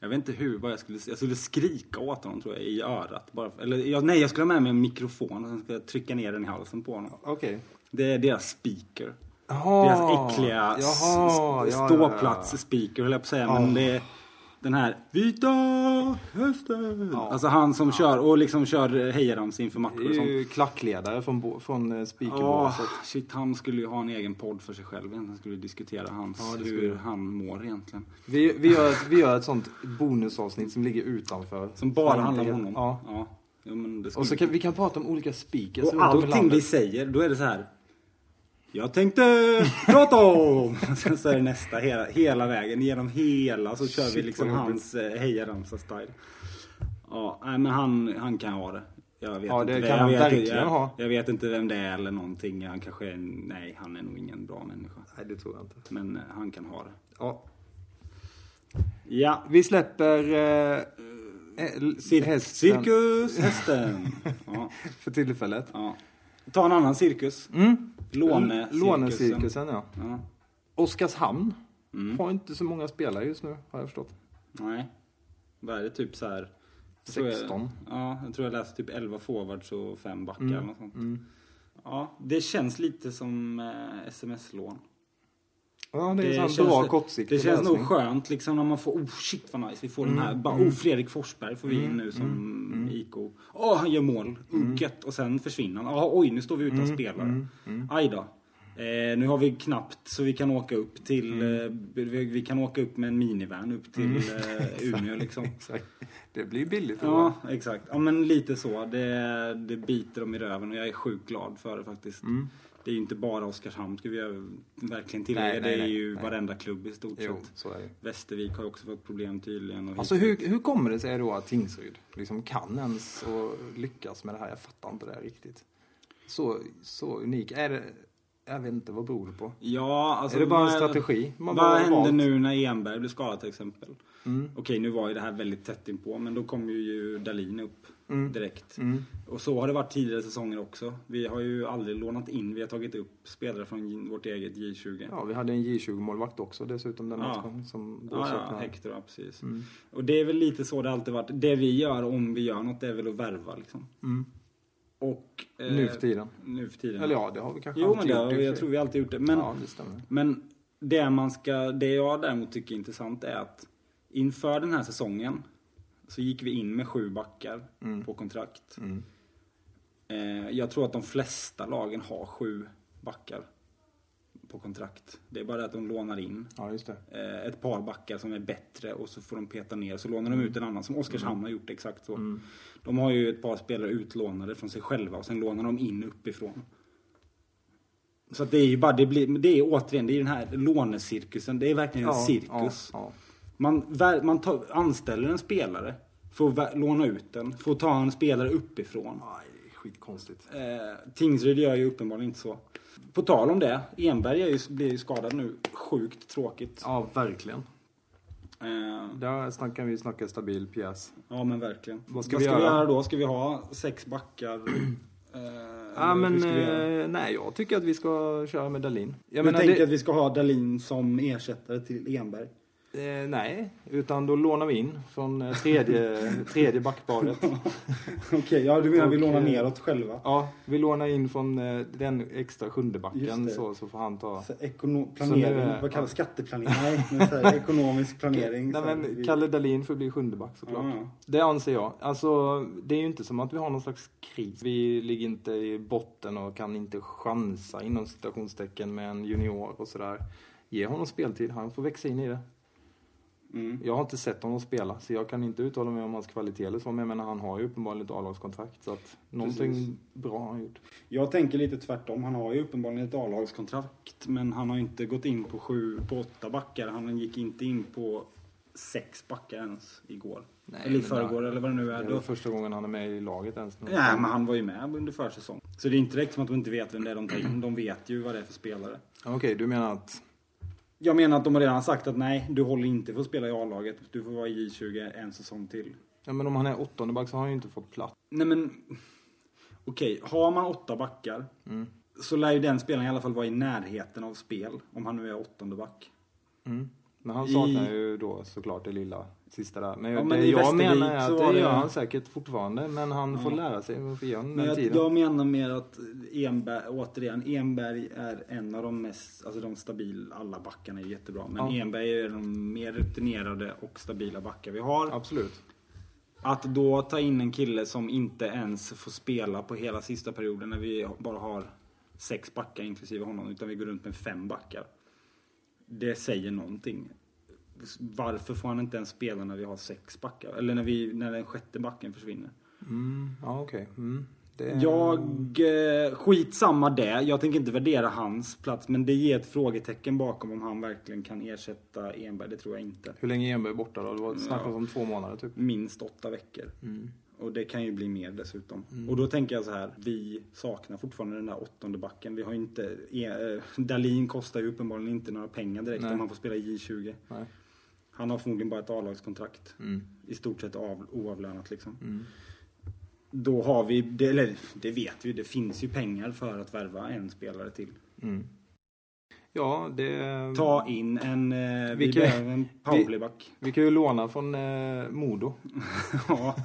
jag vet inte hur, vad jag skulle Jag skulle skrika åt honom tror jag, i örat. Bara för, eller, jag, nej, jag skulle ha med mig en mikrofon och sen skulle jag trycka ner den i halsen på honom.
Okej.
Det är deras speaker.
Jaha.
Deras äckliga s-
Jaha,
s-
ja,
ståplats
ja,
speaker höll jag på att säga.
Ja.
Men det är den här Vita Hästen.
Ja.
Alltså han som kör och liksom kör eh, hejarams inför
ja.
matcher
Det
och
är
sånt.
ju klackledare från, bo- från eh,
Ja,
speakerbåset.
shit, han skulle ju ha en egen podd för sig själv egentligen. Han skulle diskutera hans,
Ja, det skulle
hur
jag.
han mår egentligen.
Vi, vi, gör ett, vi gör ett sånt bonusavsnitt som ligger utanför.
Som bara handlar om honom.
Ja.
ja. Ja, men det skulle...
Och så kan, vi kan prata om olika speakers
och
runt om i
allting vi
landet.
säger, då är det så här. Jag tänkte prata om... (laughs) Sen så är det nästa hela, hela vägen, genom hela så kör vi
Shit,
liksom
vad jobbigt.
hans eh, hejaramsa-style. Ja, nej, men han, han kan ha det. Jag vet
Ja, det
inte,
kan
jag
han
vet,
verkligen
jag,
ha.
Jag vet inte vem det är eller någonting. Han kanske är... en- Nej, han är nog ingen bra människa.
Nej, det tror jag inte.
Men eh, han kan ha det.
Ja.
Ja,
Vi släpper... Eh, eh,
Cir-
hästen (laughs)
cirkus hästen. ja,
För tillfället.
ja. Ta en annan cirkus.
Mm.
Lånecirkusen.
Lånecirkusen, ja.
Ja.
Oskarshamn
Mm.
har inte så många spelare just nu, har jag förstått.
Nej. Vad är det? Typ så här... jag tror
16.
Jag, ja, jag tror jag läste typ 11 forwards och 5 backar eller något sånt.
Mm.
Ja, det känns lite som eh, sms-lån.
Ja, det är en sån
känns-
bra kortsiktig
Det känns nog
lösning. Mm,
skönt liksom när man får, oh shit vad nice, vi får den här, bara, oh Fredrik Forsberg får vi in nu som IK. Åh, han gör mål, mm. gött, och sen försvinner han. Ah, oj, nu står vi utan
Mm,
spelare. Aj då. Eh, nu har vi knappt så vi kan åka upp till,
Mm.
eh, vi, vi kan åka upp med en minivan upp till eh,
(laughs)
Umeå liksom.
Exakt. Det blir billigt.
Ja, exakt. Ja, men lite så. Det, det biter dem i röven och jag är sjukt glad för det faktiskt.
Mm.
Det är ju inte bara Oskarshamn, ska vi ju verkligen tillägga.
Nej, nej,
det är
nej,
ju
nej.
varenda klubb i stort
Jo,
sett.
så är det.
Västervik har ju också fått problem tydligen. Och
Alltså
hit-
hur, hur kommer det sig då att Tingsryd liksom kan ens och lyckas med det här? Jag fattar inte det här riktigt. Så, så unik. Är det, jag vet inte, vad beror det på?
Ja, alltså,
är det bara en
vad-
strategi? Man bara
vad
har
hände
valt?
nu när Enberg blev skadad till exempel?
Mm.
Okej, nu var ju det här väldigt tätt inpå, men då kom ju Dalin upp
Mm.
direkt.
Mm.
Och så har det varit tidigare säsonger också. Vi har ju aldrig lånat in, vi har tagit upp spelare från vårt eget J20.
Ja, vi hade en J20-målvakt också dessutom den
Ja.
matchen. Som
Ja, ja,
saknade-
Hector, ja, precis.
Mm,
Och det är väl lite så det alltid varit. Det vi gör, om vi gör något, det är väl att värva liksom.
Mm.
Och... eh,
Nu för tiden.
Nu för tiden.
Eller ja, det har vi kanske
jo,
alltid
men det,
gjort i och
har-
för
jag
sig.
tror vi alltid gjort det. Men,
Ja, det stämmer.
men det, man ska, det jag däremot tycker är intressant är att inför den här säsongen så gick vi in med sju backar
Mm.
på kontrakt.
Mm.
Eh, jag tror att de flesta lagen har sju backar på kontrakt. Det är bara det att de lånar in
Ja, just det.
eh, ett par backar som är bättre och så får de peta ner så lånar de ut en annan som Oskarshamn
Mm.
har gjort exakt så. De har ju ett par spelare utlånade från sig själva och sen lånar de in uppifrån. Så att det är ju bara, det blir, men det är återigen, det är ju den här lånecirkusen, det är verkligen en
Ja,
cirkus.
Ja,
Man, vär- man tar, anställer en spelare, får vä- låna ut den, får ta en spelare uppifrån.
ja. Nej, det är skitkonstigt.
Eh, Tingsryd gör ju uppenbarligen inte så. På tal om det, Enberg är ju, blir ju skadad nu, sjukt tråkigt.
Ja, verkligen.
Eh,
Där snack- kan vi snacka stabil pjäs.
Ja men verkligen.
Vad ska vi göra?
då? Ska vi ha sex backar? (clears throat) eh,
Ja,
eller hur
men
ska vi göra?
eh, nej, jag tycker att vi ska köra med Dalin.
du
Jag menar,
tänker
det,
att vi ska ha Dalin som ersättare till Enberg? (laughs)
eh, nej, utan då lånar vi in från eh, tredje,
(laughs)
tredje backparet.
Okej, ja du menar vi
Och,
lånar
eh,
neråt själva?
Ja, vi lånar in från eh, den extra sjunde
Just
backen
det.
så, så får han ta.
Så ekono-
Så
planering,
nu är-
vad kallas skatteplanering?
(laughs)
Nej, men så här, ekonomisk planering.
Nej,
så här,
men
vi-
Kalle Dalin får bli sjunde back såklart.
Ja, ja.
Det anser jag. Alltså, det är ju inte som att vi har någon slags kris. Vi ligger inte i botten och kan inte chansa inom citationstecken med en junior och sådär. Ge honom speltid, han får växa in i det.
Mm.
Jag har inte sett honom spela så jag kan inte uttala mig om hans kvalitet eller så. Men jag menar, han har ju uppenbarligen ett A-lagskontrakt. Så att någonting
Precis.
bra har han gjort.
Jag tänker lite tvärtom. Han har ju uppenbarligen ett A-lagskontrakt men han har ju inte gått in på sju, på åtta backar. Han gick inte in på sex backar ens igår.
Nej,
eller i
men
förrgår
det-
eller vad det nu
Det
är.
är
Då,
väl första gången han är med i laget ens. nu.
nej, men han var ju med under försäsong. Så det är inte direkt som att de inte vet vem det är de tar in. De vet ju vad det är för spelare.
Okej, du menar att...
Jag menar att de har redan sagt att nej, du håller inte för att spela i A-laget. Du får vara i J20 en säsong till.
Ja, men om han är åttonde back så har han ju inte fått plats.
Nej men, okej. Har man åtta backar
Mm,
så lär ju den spelaren i alla fall vara i närheten av spel. Om han nu är åttonde back.
Mm. Men han
I-
saknar ju då såklart det lilla sista där. Men,
Ja, men
det
i
jag
Västervik
menar är
så
att
var
det
det-
gör han säkert fortfarande. Men han får lära sig. Varför gör han
Men
den
jag,
tiden?
jag menar mer att Enberg, återigen, Enberg är en av de mest, alltså de stabila, alla backarna är jättebra. Men
Ja.
Enberg är de mer rutinerade och stabila backar vi har.
Absolut.
Att då ta in en kille som inte ens får spela på hela sista perioden när vi bara har sex backar inklusive honom, utan vi går runt med fem backar. Det säger någonting. Varför får han inte ens spela när vi har sex backar? Eller när, vi, när den sjätte backen försvinner?
Mm. Ja, okej. Mm. Det är...
Jag... Eh, skitsamma det. Jag tänker inte värdera hans plats, men det ger ett frågetecken bakom om han verkligen kan ersätta Enberg. Det tror jag inte.
Hur länge är Enberg borta då? Det var snackat om två månader typ. Mm,
Minst åtta veckor. Och det kan ju bli mer dessutom. Och då tänker jag så här, vi saknar fortfarande den där åttonde backen. Vi har ju inte, eh, Dalin kostar ju uppenbarligen inte några pengar direkt
Nej.
om han får spela i J20.
Nej.
Han har förmodligen bara ett A-lagskontrakt.
Mm.
I stort sett av, oavlönat liksom.
Mm.
Då har vi, det, eller det vet vi, det finns ju pengar för att värva en spelare till.
Mm. Ja, det...
Ta in en, eh, vi
Vilka-
behöver en powerplayback.
Vi kan ju låna från eh, Modo.
ja.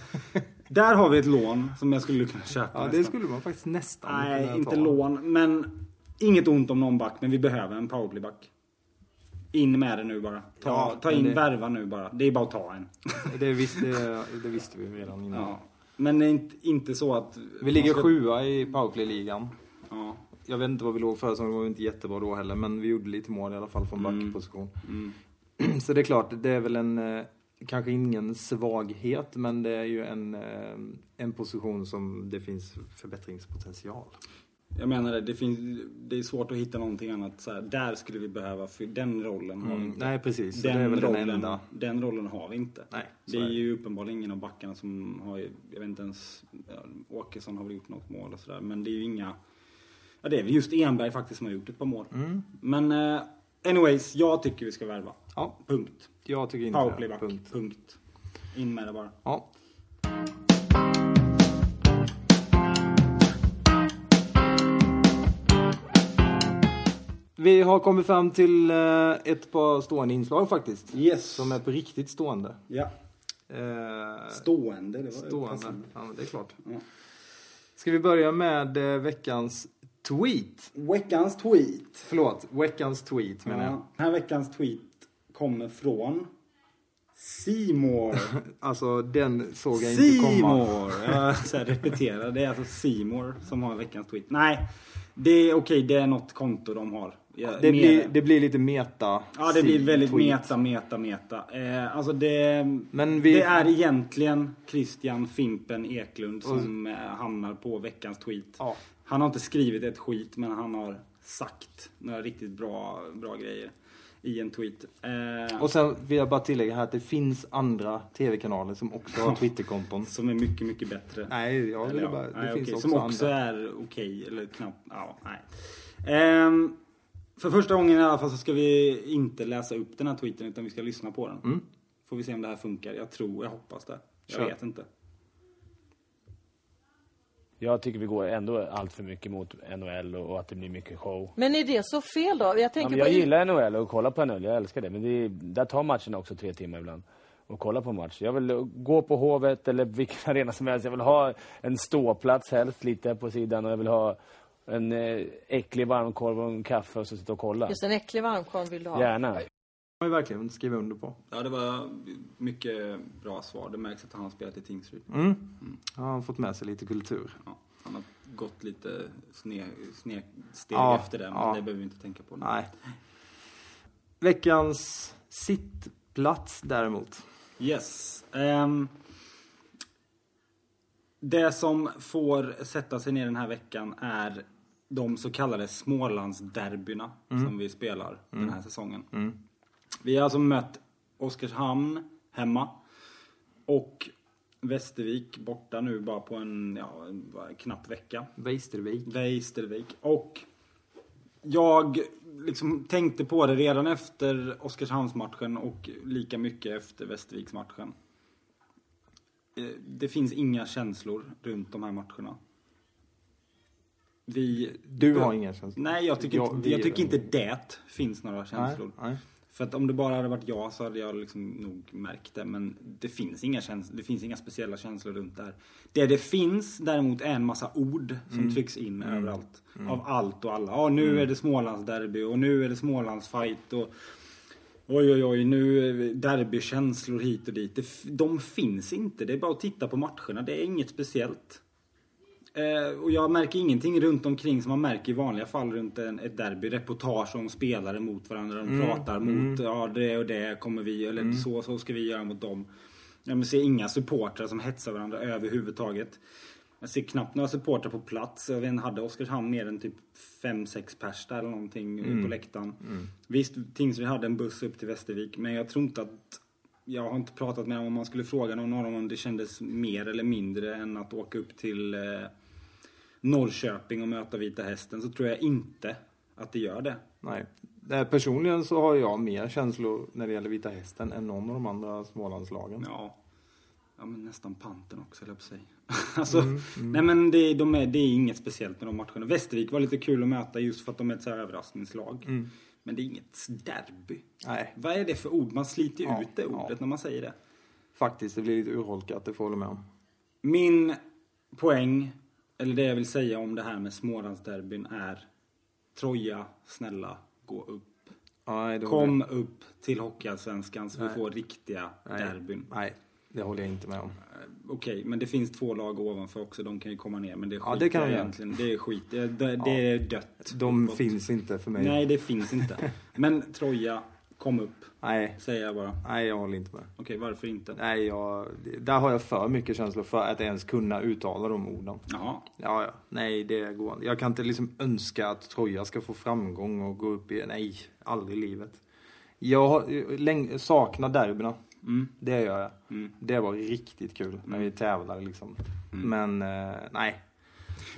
Där har vi ett lån som jag skulle kunna köpa
Ja, det
nästan.
skulle man faktiskt nästan kunna
Nej,
ta.
inte lån. Men inget ont om någon back, men vi behöver en powerplayback. In med det nu bara. Ta,
Ja,
ta
men
in,
det-
värva nu bara. Det är bara att ta en.
Det visste, det visste vi redan innan.
Ja. Men det är inte, inte så att...
Vi ligger sjua i Powerplay-ligan.
Ja.
Jag vet inte vad vi låg förra säsongen, vi var inte jättebra då heller. Men vi gjorde lite mål i alla fall från backposition. (clears throat)
Mm.
Så det är klart, det är väl en, eh, kanske ingen svaghet, men det är ju en, eh, en position som det finns förbättringspotential.
Jag menar det, det, finns, det är svårt att hitta någonting annat. Så här, där skulle vi behöva, för den rollen har vi inte.
Nej precis, Mm. så
den,
det är väl
rollen,
den enda.
den rollen har vi inte.
Nej,
Det
så är
är
det.
ju uppenbarligen ingen av backarna som har, jag vet inte ens, ja, Åkesson har väl gjort något mål och sådär. Men det är ju inga, ja det är väl just Enberg faktiskt som har gjort ett par mål.
Mm.
Men eh, anyways, jag tycker vi ska värva.
Ja,
Punkt.
jag tycker inte
Powerplayback.
det.
Punkt.
Punkt.
Punkt. In med det bara.
Ja. Vi har kommit fram till eh, ett par stående inslag faktiskt.
Yes.
Som är på riktigt stående.
Ja.
Eh,
Stående, det var
stående.
passande.
Ja, men det är klart.
Ja.
Ska vi börja med eh, veckans tweet?
Veckans tweet.
Förlåt, veckans tweet menar jag.
Ja. Den här veckans tweet kommer från Seymour.
Alltså den såg jag inte komma.
Seymour! Jag så här repeterar, det är alltså Seymour som har veckans tweet. Nej, det är okej, det är något konto de har. Jag-
Det
mer-
blir, det blir lite meta.
ja, det blir väldigt
tweet.
meta, meta, meta. Eh, alltså det,
Men vi-
det är egentligen Christian Fimpen Eklund som eh, hamnar på veckans tweet.
Ja.
Han har inte skrivit ett skit, men han har sagt några riktigt bra, bra grejer i en tweet. Eh,
Och sen vill jag bara tillägga här att det finns andra tv-kanaler som också har Twitterkonton.
som är mycket, mycket bättre.
Nej, jag
Eller
vill
ja,
bara... Det
nej,
finns
okej,
också,
som också
andra.
är okej, eller knappt. Ja, nej. Ehm, för första gången i alla fall så ska vi inte läsa upp den här tweeten utan vi ska lyssna på den. Får vi se om det här funkar. Jag tror, jag hoppas det. Jag
Mm. Kör.
vet inte.
Jag tycker vi går ändå allt för mycket mot NHL och och att det blir mycket show.
Men är det så fel då? Jag
Ja,
tänker
men jag
på...
gillar NHL och kollar på NHL, jag älskar det. Men det är, där tar matcherna också tre timmar ibland. Och kolla på match. Jag vill gå på Hovet eller vilken (laughs) arena som helst. Jag vill ha en ståplats helst lite på sidan och jag vill ha en eh, äcklig varmkorv och en kaffe och så sitta och kolla.
Just en äcklig varmkorv vill du ha.
Gärna.
har ju verkligen skrivit under på.
Ja, det var mycket bra svar. Det märks att han har spelat i Tingsryd.
Mm. Har han fått med sig lite kultur.
Ja, han har gått lite sne, sne, steg
Ja,
efter det, men
ja.
det behöver vi inte tänka på nu.
Nej. Veckans sitt plats däremot.
Yes. Ehm, det som får sätta sig ner den här veckan är de så kallade Smålandsderbyna som vi spelar den här säsongen. Vi har alltså mött Oskarshamn hemma och Västervik borta nu bara på en, ja, en bara en knapp vecka.
Västervik.
Västervik. Och jag liksom tänkte på det redan efter Oskarshamnsmatchen och lika mycket efter Västerviksmatchen. Eh, Det finns inga känslor runt de här matcherna. Vi...
Du har inga känslor?
Nej, jag tycker,
Ja,
inte,
vi-
jag tycker inte det finns några
Nej,
känslor.
nej.
För att om det bara hade varit jag så hade jag liksom nog märkt det. Men det finns inga, käns- det finns inga speciella känslor runt det här. Det det finns däremot är en massa ord som trycks in överallt. Av allt och alla. Ja, nu är det Smålandsderby och nu är det Smålandsfight och oj oj oj, nu är vi- derbykänslor hit och dit. Det, f- de finns inte. Det är bara att titta på matcherna. Det är inget speciellt. Eh, och jag märker ingenting runt omkring som man märker i vanliga fall runt en, ett derby. Reportage om spelare mot varandra. De pratar mot ja, det och det kommer vi eller så så ska vi göra mot dem. Jag men ser inga supportrar som hetsar varandra överhuvudtaget. Jag ser knappt några supportrar på plats. Jag vet, inte, hade Oskarshamn mer än typ 5-6 pers där eller någonting på läktaren. Visst, Tingsryd hade en buss upp till Västervik men jag tror inte att jag har inte pratat med dem om man skulle fråga någon av dem om det kändes mer eller mindre än att åka upp till eh, Norrköping och möta Vita Hästen så tror jag inte att det gör det.
Nej. Eh, Personligen så har jag mer känslor när det gäller Vita Hästen än någon av de andra Smålandslagen.
Ja, ja men nästan panten också höll jag på sig. (laughs) alltså,
Mm,
nej men det, de är, det är inget speciellt med de matcherna. Västervik var lite kul att möta just för att de är ett så här överraskningslag.
Mm.
Men det är inget derby.
Nej,
Vad är det för ord? Man sliter ju
Ja,
ut det
ja.
ordet när man säger det.
faktiskt. Det blir lite urholkat, det får jag hålla med om.
Min poäng, eller det jag vill säga om det här med Smålandsderbyn är Troja, snälla, gå upp.
Nej, det håller
Kom upp till Hockeyallsvenskan så vi får riktiga
jag- nej,
derbyn.
Nej, det håller jag inte med om.
Okej, men det finns två lag ovanför också. De kan ju komma ner, men det skiter
Ja, det kan
jag
de göra.
egentligen. Det är skit. Det, det, det är dött.
De
uppåt.
finns inte för mig. Nej.
Nej, det finns inte. Men Troja, kom upp.
Nej,
Säger jag bara. Okej,
nej jag håller inte med.
varför inte?
Nej, jag, där har jag för mycket känslor för att ens kunna uttala de orden.
Jaha.
Ja, ja. Nej, det går inte. Jag kan inte liksom önska att Troja ska få framgång och gå upp i... Nej, aldrig i livet. Jag har, läng, saknar derbyna. Det gör jag. Det var riktigt kul när vi tävlade liksom. Men eh, nej.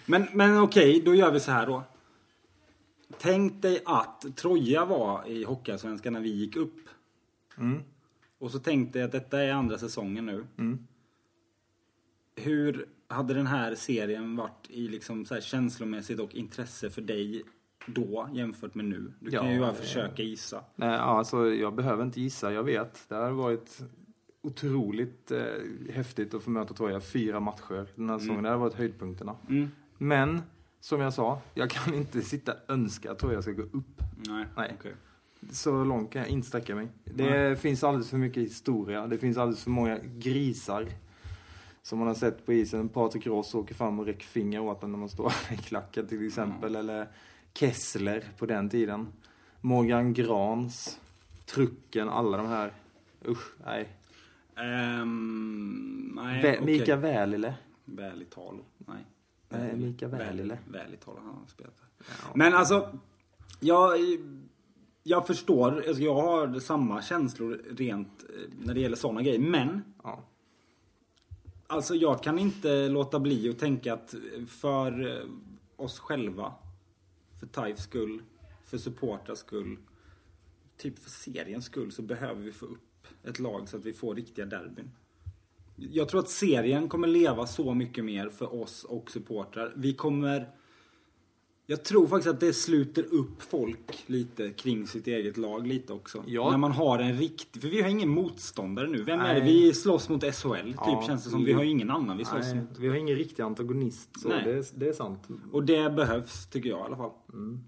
Men, men okej, då gör vi så här då. Tänk dig att Troja var i Hockeyallsvenskan när vi gick upp.
Mm.
Och så tänkte jag att detta är andra säsongen nu.
Mm.
Hur hade den här serien varit i liksom så här känslomässigt och intresse för dig då jämfört med nu? Du kan
Ja,
ju bara
eh,
försöka gissa.
nej alltså, jag behöver inte gissa, jag vet. Det har varit otroligt eh, häftigt att få möta Troja fyra matcher den här säsongen. Det har varit höjdpunkterna. Men, som jag sa, jag kan inte sitta och önska att Troja ska gå upp.
Nej,
nej.
okej.
Så långt kan jag inte sträcka mig. Det finns alldeles för mycket historia. Det finns alldeles för många grisar. Som man har sett på isen. Patrik Ross åker fram och räcker finger åt en när man står (laughs) i klacken till exempel. Eller Kessler på den tiden. Morgan Grans. Trucken, alla de här. Usch, nej.
Ehm, nej,
Vä-
okej.
Mika Välile.
Väl i tal. Nej.
Nej, Mika Välile.
Väl i tal, han har spelat där. Men alltså, jag, jag förstår. Alltså jag har samma känslor rent eh, när det gäller sådana grejer. Men,
Ja.
alltså jag kan inte låta bli att tänka att för eh, oss själva, för Taifs skull, för supportrars skull, typ för seriens skull så behöver vi få upp ett lag så att vi får riktiga derbyn. Jag tror att serien kommer leva så mycket mer för oss och supportrar. Vi kommer... Jag tror faktiskt att det sluter upp folk lite kring sitt eget lag lite också.
Ja.
När man har en riktig... För vi har ingen motståndare nu. Vem är det?
Nej.
Vi slåss mot SHL, typ
Ja,
känns det som. Vi har ju ingen annan vi slåss
Nej,
mot.
vi har ingen riktig antagonist, så
Nej.
det, det är sant.
Och det behövs, tycker jag i alla fall.
Mm.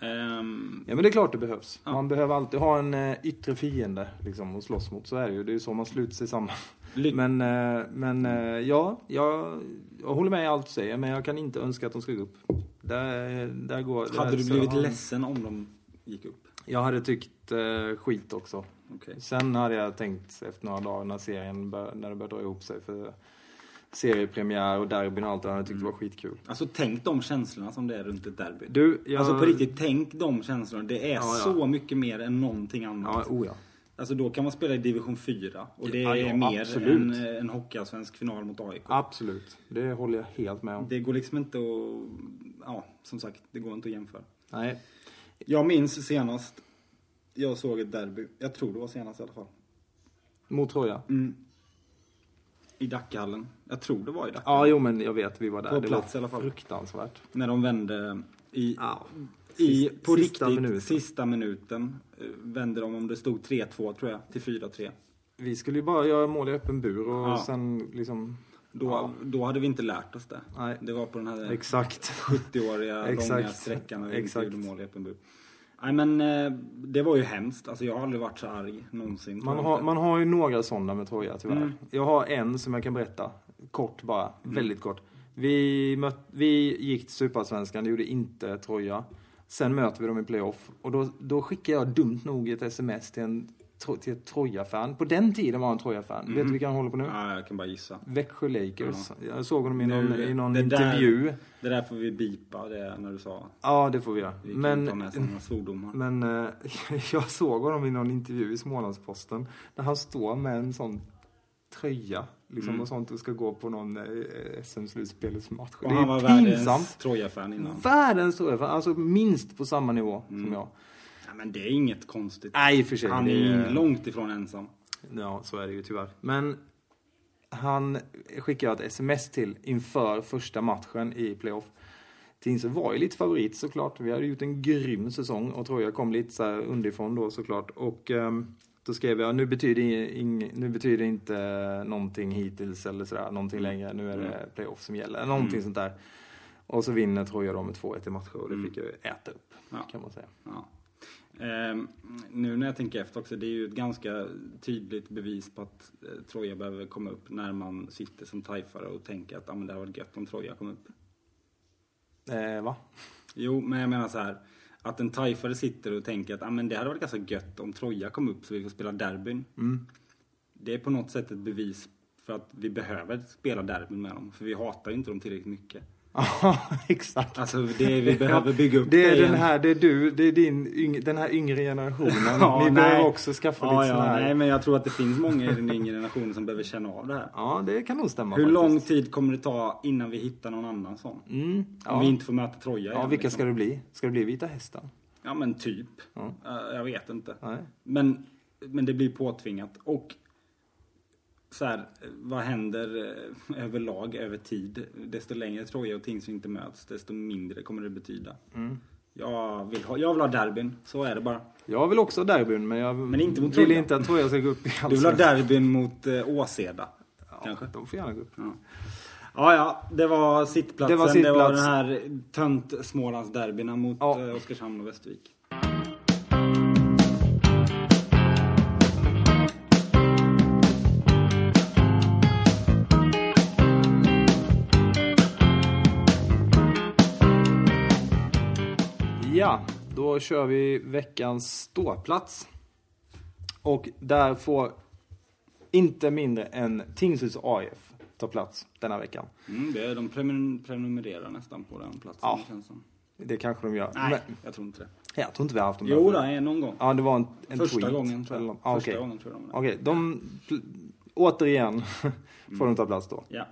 Ehm,
Ja men det är klart det behövs. Man behöver alltid ha en eh, yttre fiende liksom att slåss mot. Så är det ju. Det är ju så man sluter sig samman. (laughs)
Ly-
Men, eh, men eh, ja, jag, jag håller med i allt du säger. Men jag kan inte önska att de ska gå upp. Där, där går... där
hade du
så
blivit
har-
ledsen om de gick upp?
Jag hade tyckt eh, skit också.
Okej.
Sen hade jag tänkt efter några dagar när serien bör, när det började dra ihop sig för seriepremiär och derbyn och allt det där, jag tyckte det var skitkul.
Alltså tänk de känslorna som det är runt ett derby.
Du, jag...
Alltså på riktigt, tänk de känslorna. Det är
ja.
så mycket mer än någonting annat.
Ja, oh ja.
Alltså då kan man spela i division 4 och det
Ja, ja,
är mer
absolut.
än eh, en hockeyallsvensk final mot AIK.
Absolut. Det håller jag helt med om.
Det går liksom inte att... Ja, som sagt, det går inte att jämföra.
Nej.
Jag minns senast jag såg ett derby. Jag tror det var senast i alla fall.
Mot Troja?
I Dackehallen. Jag tror det var i Dackehallen.
Ja, jo men jag vet, vi var där.
På
det
plats i
var
alla fall.
fruktansvärt.
När de vände i...
Ja.
I, på
sista
riktigt,
minuten.
sista minuten eh, vände de om det stod 3-2 tror jag, till 4-3.
Vi skulle ju bara göra mål i öppen bur och
Ja.
sen liksom...
Då, då hade vi inte lärt oss det.
Nej.
Det var på den här (laughs)
Exakt.
70-åriga långa
Exakt.
sträckan när vi inte
Exakt.
gjorde mål i öppen bur. Nej men eh, det var ju hemskt. Alltså jag har aldrig varit så arg någonsin.
Man har, man har ju några sådana med Troja tyvärr.
Mm.
Jag har en som jag kan berätta. Kort bara. Väldigt kort. Vi, möt, vi gick till Superallsvenskan, det gjorde inte Troja. Sen möter vi dem i playoff. Och då, då skickar jag dumt nog ett sms till en tro- till ett Troja-fan. På den tiden var han Troja-fan. Vet du vilka han håller på nu?
Mm. Ja, jag kan bara gissa.
Växjö Lakers. Jag såg honom i någon,
Nu-
i någon
det där-
intervju.
Det där får vi bipa det när du sa.
Ja, det får vi göra.
Vi kan
Men,
ta med sådana svordomar.
Men eh, (laughs) jag såg honom i någon intervju i Smålandsposten där han står med en sån tröja liksom, och sånt och ska gå på någon eh, SM-slutspelsmatch. Det
Och han var
är ju
världens
pinsamt.
Troja-fan innan.
Världens tröja, för- alltså minst på samma nivå som jag.
Ja, men det är inget konstigt.
Nej, i och för sig.
Han
det
är långt ifrån ensam.
Ja, så är det ju tyvärr. Men han skickade jag ett sms till inför första matchen i playoff. Tinsö var ju lite favorit såklart. Vi hade gjort en grym säsong och tror jag kom lite så här underifrån då såklart. Och ehm, då skrev jag, nu betyder, ing, nu betyder inte någonting hittills eller sådär, någonting längre. Nu är det playoff som gäller, någonting sånt där. Och så vinner tror jag då med 2-1 i matcher och det fick jag ju äta upp
Ja.
kan man säga.
Ja. Ehm, nu när jag tänker efter också, det är ju ett ganska tydligt bevis på att eh, Troja behöver komma upp när man sitter som tajfare och tänker att ah, men det hade varit gött om Troja kom upp.
Eh, va? (laughs)
Jo, men jag menar så här. Att en tajfare sitter och tänker att ah, men det hade varit ganska gött om Troja kom upp så vi får spela derbyn.
Mm.
Det är på något sätt ett bevis för att vi behöver spela derbyn med dem. För vi hatar ju inte dem tillräckligt mycket.
Ja, exakt.
Alltså
(laughs)
det vi behöver bygga upp
Det är
igen.
den här, det är du, det är din, yng- den här yngre generationen.
(laughs) Ja,
Ni
nej.
behöver också skaffa
ja,
lite
ja,
sån här.
Nej, men jag tror att det finns många i den yngre generationen som behöver känna av det här.
Ja, det kan nog stämma
Hur
faktiskt.
lång tid kommer det ta innan vi hittar någon annan sån?
Mm, ja.
Om vi inte får möta Troja
ja,
igen,
vilka
liksom.
ska det bli? Ska det bli Vita Hästen?
Ja men typ. Eh, jag vet inte.
Nej.
Men, men det blir påtvingat. Och så här, eh, vad händer eh, överlag, över tid? Desto längre Troja och Tingsryd inte möts, desto mindre kommer det betyda.
Mm.
Jag, vill ha, jag vill ha derbyn, så är det bara.
Jag vill också ha derbyn, men jag
Men inte mot
vill
Troja.
inte att Troja ska gå upp i
Du vill ha
allsvenskan.
derbyn mot eh, Åseda, kanske?
Ja, de får gärna gå upp.
Ja, ja, det var sittplatsen.
Det
Det
var
var,
sittplats.
den här tönt Smålandsderbyna mot
Ja.
eh, Oskarshamn och Västervik.
Ja, då kör vi veckans ståplats. Och där får inte mindre än Tingsryds AIF ta plats denna veckan.
Mm, det är, de prenumer- prenumererar nästan på den platsen,
Ja.
det känns som.
Det kanske de gör.
Nej,
Men,
jag tror inte det.
jag tror inte vi har haft dem
Jo,
där
då,
förut.
en någon gång.
Ja, det var en, en
Första
tweet.
gången, tror jag.
Eller- ah,
Första
okej.
gången tror jag de var.
Okej, de... Återigen (laughs) får
Mm.
de ta plats då.
Ja.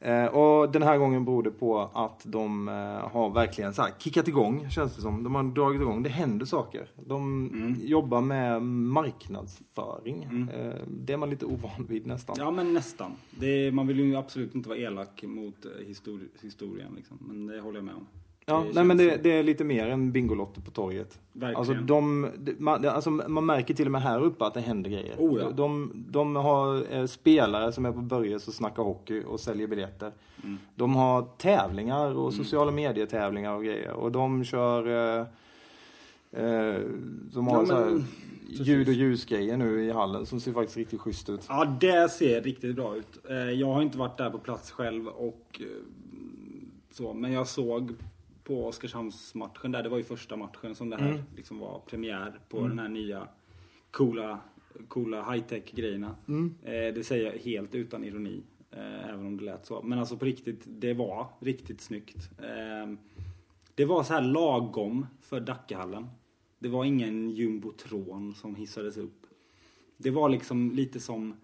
Eh, och den här gången beror det på att de eh, har verkligen så här kickat igång, känns det som. De har dragit igång, det händer saker. De
Mm.
jobbar med marknadsföring. Eh, det är man lite ovan vid nästan.
ja, men nästan. Det är, man vill ju absolut inte vara elak mot eh, histori- historien, liksom. men det håller jag med om.
Ja, nej
känns
men det,
som-
det är lite mer än Bingolotto på torget.
Verkligen.
Alltså, de, det- man, det- alltså man märker till och med här uppe att det händer grejer.
Oh, ja.
de, de har eh, spelare som är på Börjes och snackar hockey och säljer biljetter.
Mm.
De har tävlingar och sociala medier-tävlingar och grejer. Och de kör... Eh, eh, de har
Ja,
så här
men-
ljud och ljusgrejer nu i hallen som ser faktiskt riktigt schysst ut.
Ja, det ser riktigt bra ut. Eh, Jag har inte varit där på plats själv och eh, så, men jag såg på Oskarshamnsmatchen där. Det var ju första matchen som det här liksom var premiär på den här nya coola, coola high-tech grejerna. Eh, det säger jag helt utan ironi. Eh, även om det lät så. Men alltså på riktigt, det var riktigt snyggt. Eh, det var så här lagom för Dackehallen. Det var ingen jumbotron som hissades upp. Det var liksom lite som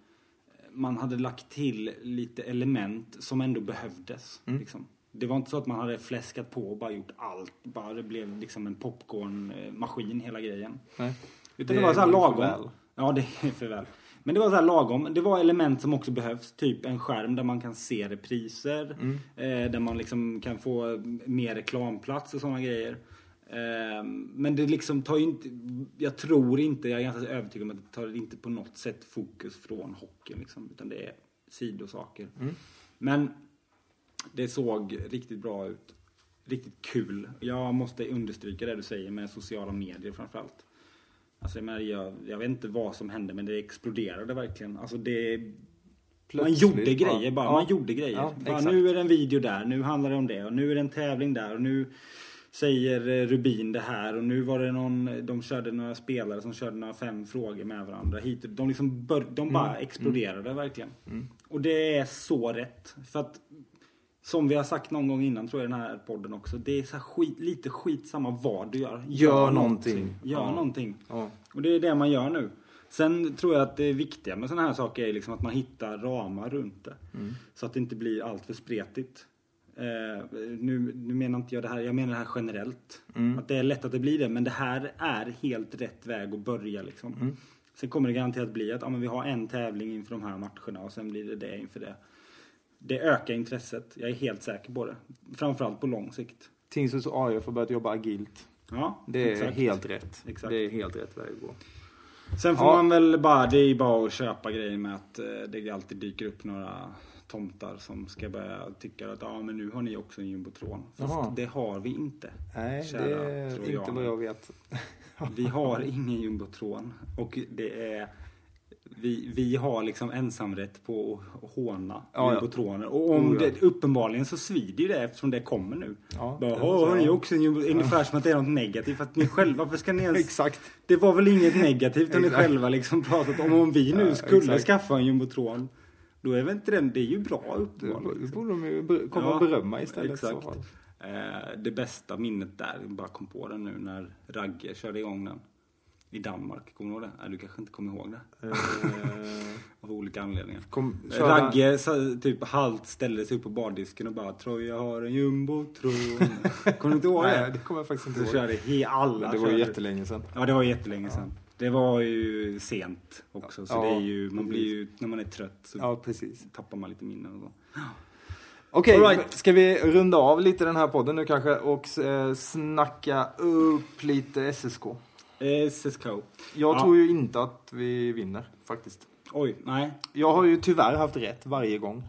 man hade lagt till lite element som ändå behövdes. Liksom. Det var inte så att man hade fläskat på och bara gjort allt. Bara det blev liksom en popcornmaskin eh, hela grejen.
Nej.
Utan det,
Det
var så här
är för
lagom.
väl.
Ja, det är för väl. Men det var så här lagom. Det var element som också behövs. Typ en skärm där man kan se repriser.
Mm.
Eh, där man liksom kan få mer reklamplats och sådana grejer. Eh, men det liksom tar ju inte... Jag tror inte, jag är ganska övertygad om att det tar inte på något sätt fokus från hockeyn. Liksom, utan det är sidosaker.
Mm.
Men det såg riktigt bra ut. Riktigt kul. Jag måste understryka det du säger med sociala medier framförallt. Alltså jag, menar, jag, jag vet inte vad som hände men det exploderade verkligen. Alltså det...
Plötsligt
man gjorde
bara.
grejer bara.
Ja.
Man gjorde grejer.
Ja,
bara,
exakt.
nu är det en video där, nu handlar det om det och nu är det en tävling där och nu säger eh, Rubin det här och nu var det någon, de körde några spelare som körde några fem frågor med varandra. Hit, och- de liksom bör, de bara
Mm.
exploderade verkligen. Och det är så rätt. För att som vi har sagt någon gång innan tror jag i den här podden också. Det är så här skit, lite skitsamma vad du gör.
Gör någonting.
Gör
Ja.
någonting.
Ja.
Och det är det man gör nu. Sen tror jag att det viktiga med sådana här saker är liksom att man hittar ramar runt det.
Mm.
Så att det inte blir allt för spretigt. Eh, nu, nu menar inte jag det här, jag menar det här generellt.
Mm.
Att det är lätt att det blir det, men det här är helt rätt väg att börja liksom.
Mm.
Sen kommer det garanterat bli att ja, men vi har en tävling inför de här matcherna och sen blir det det inför det. Det ökar intresset, jag är helt säker på det. Framförallt på lång sikt.
Tingsryds AIF har börjat jobba agilt.
Ja,
Det är
exakt.
helt rätt.
Exakt.
Det är helt rätt väg att gå.
Sen får
Ja.
man väl bara, det är bara att köpa grejer med att eh, det alltid dyker upp några tomtar som ska börja tycka att ja men nu har ni också en jumbotron. Fast
Jaha.
det har vi inte.
Nej,
kära
det är
trojaner.
inte vad jag vet.
Vi har ingen jumbotron och det är vi, vi har liksom ensamrätt på att håna
Ja, ja.
jumbotroner. Och om
Oh, ja.
det, uppenbarligen så svider ju det eftersom det kommer nu.
Ja,
Bara,
det
"Åh, har
måste
ni
jag-
också en jumbo-" Ungefär som att det är något negativt. För att ni själva, varför ska ni
(laughs) (laughs)
ens
Exakt.
Det var
(laughs)
väl inget negativt om ni
Exakt.
själva liksom pratat om. Om vi nu
Ja,
skulle
exakt.
skaffa en jumbotron. Då är väl inte den, det är ju bra uppenbarligen.
Då borde de ju ber- komma
Ja,
och berömma istället i så
Exakt.
fall.
Eh, det bästa minnet där, jag bara kom på den nu när Ragge körde igång den. I Danmark, kommer du ihåg det? Nej, du kanske inte kommer ihåg det. Av olika anledningar.
(laughs) Kom,
Eh,
körde han-
Ragge sa- typ halvt ställde sig upp på bardisken och bara Troja har
(laughs)
en jumbotron. kommer du inte ihåg
Nej,
det?
det kommer jag faktiskt inte
Så
ihåg.
körde he, alla
Det var ju
körde.
jättelänge sedan.
Ja, det var jättelänge sedan. Det var ju sent också. Så
Ja,
det är ju, man
precis.
blir ju, när man är trött så
Ja, precis.
tappar man lite minnen och så.
Okej,
All right.
ska vi runda av lite den här podden nu kanske och eh, snacka upp lite SSK?
Eh, SSKO.
Jag
Ja.
tror ju inte att vi vinner faktiskt.
Oj, nej.
Jag har ju tyvärr haft rätt varje gång.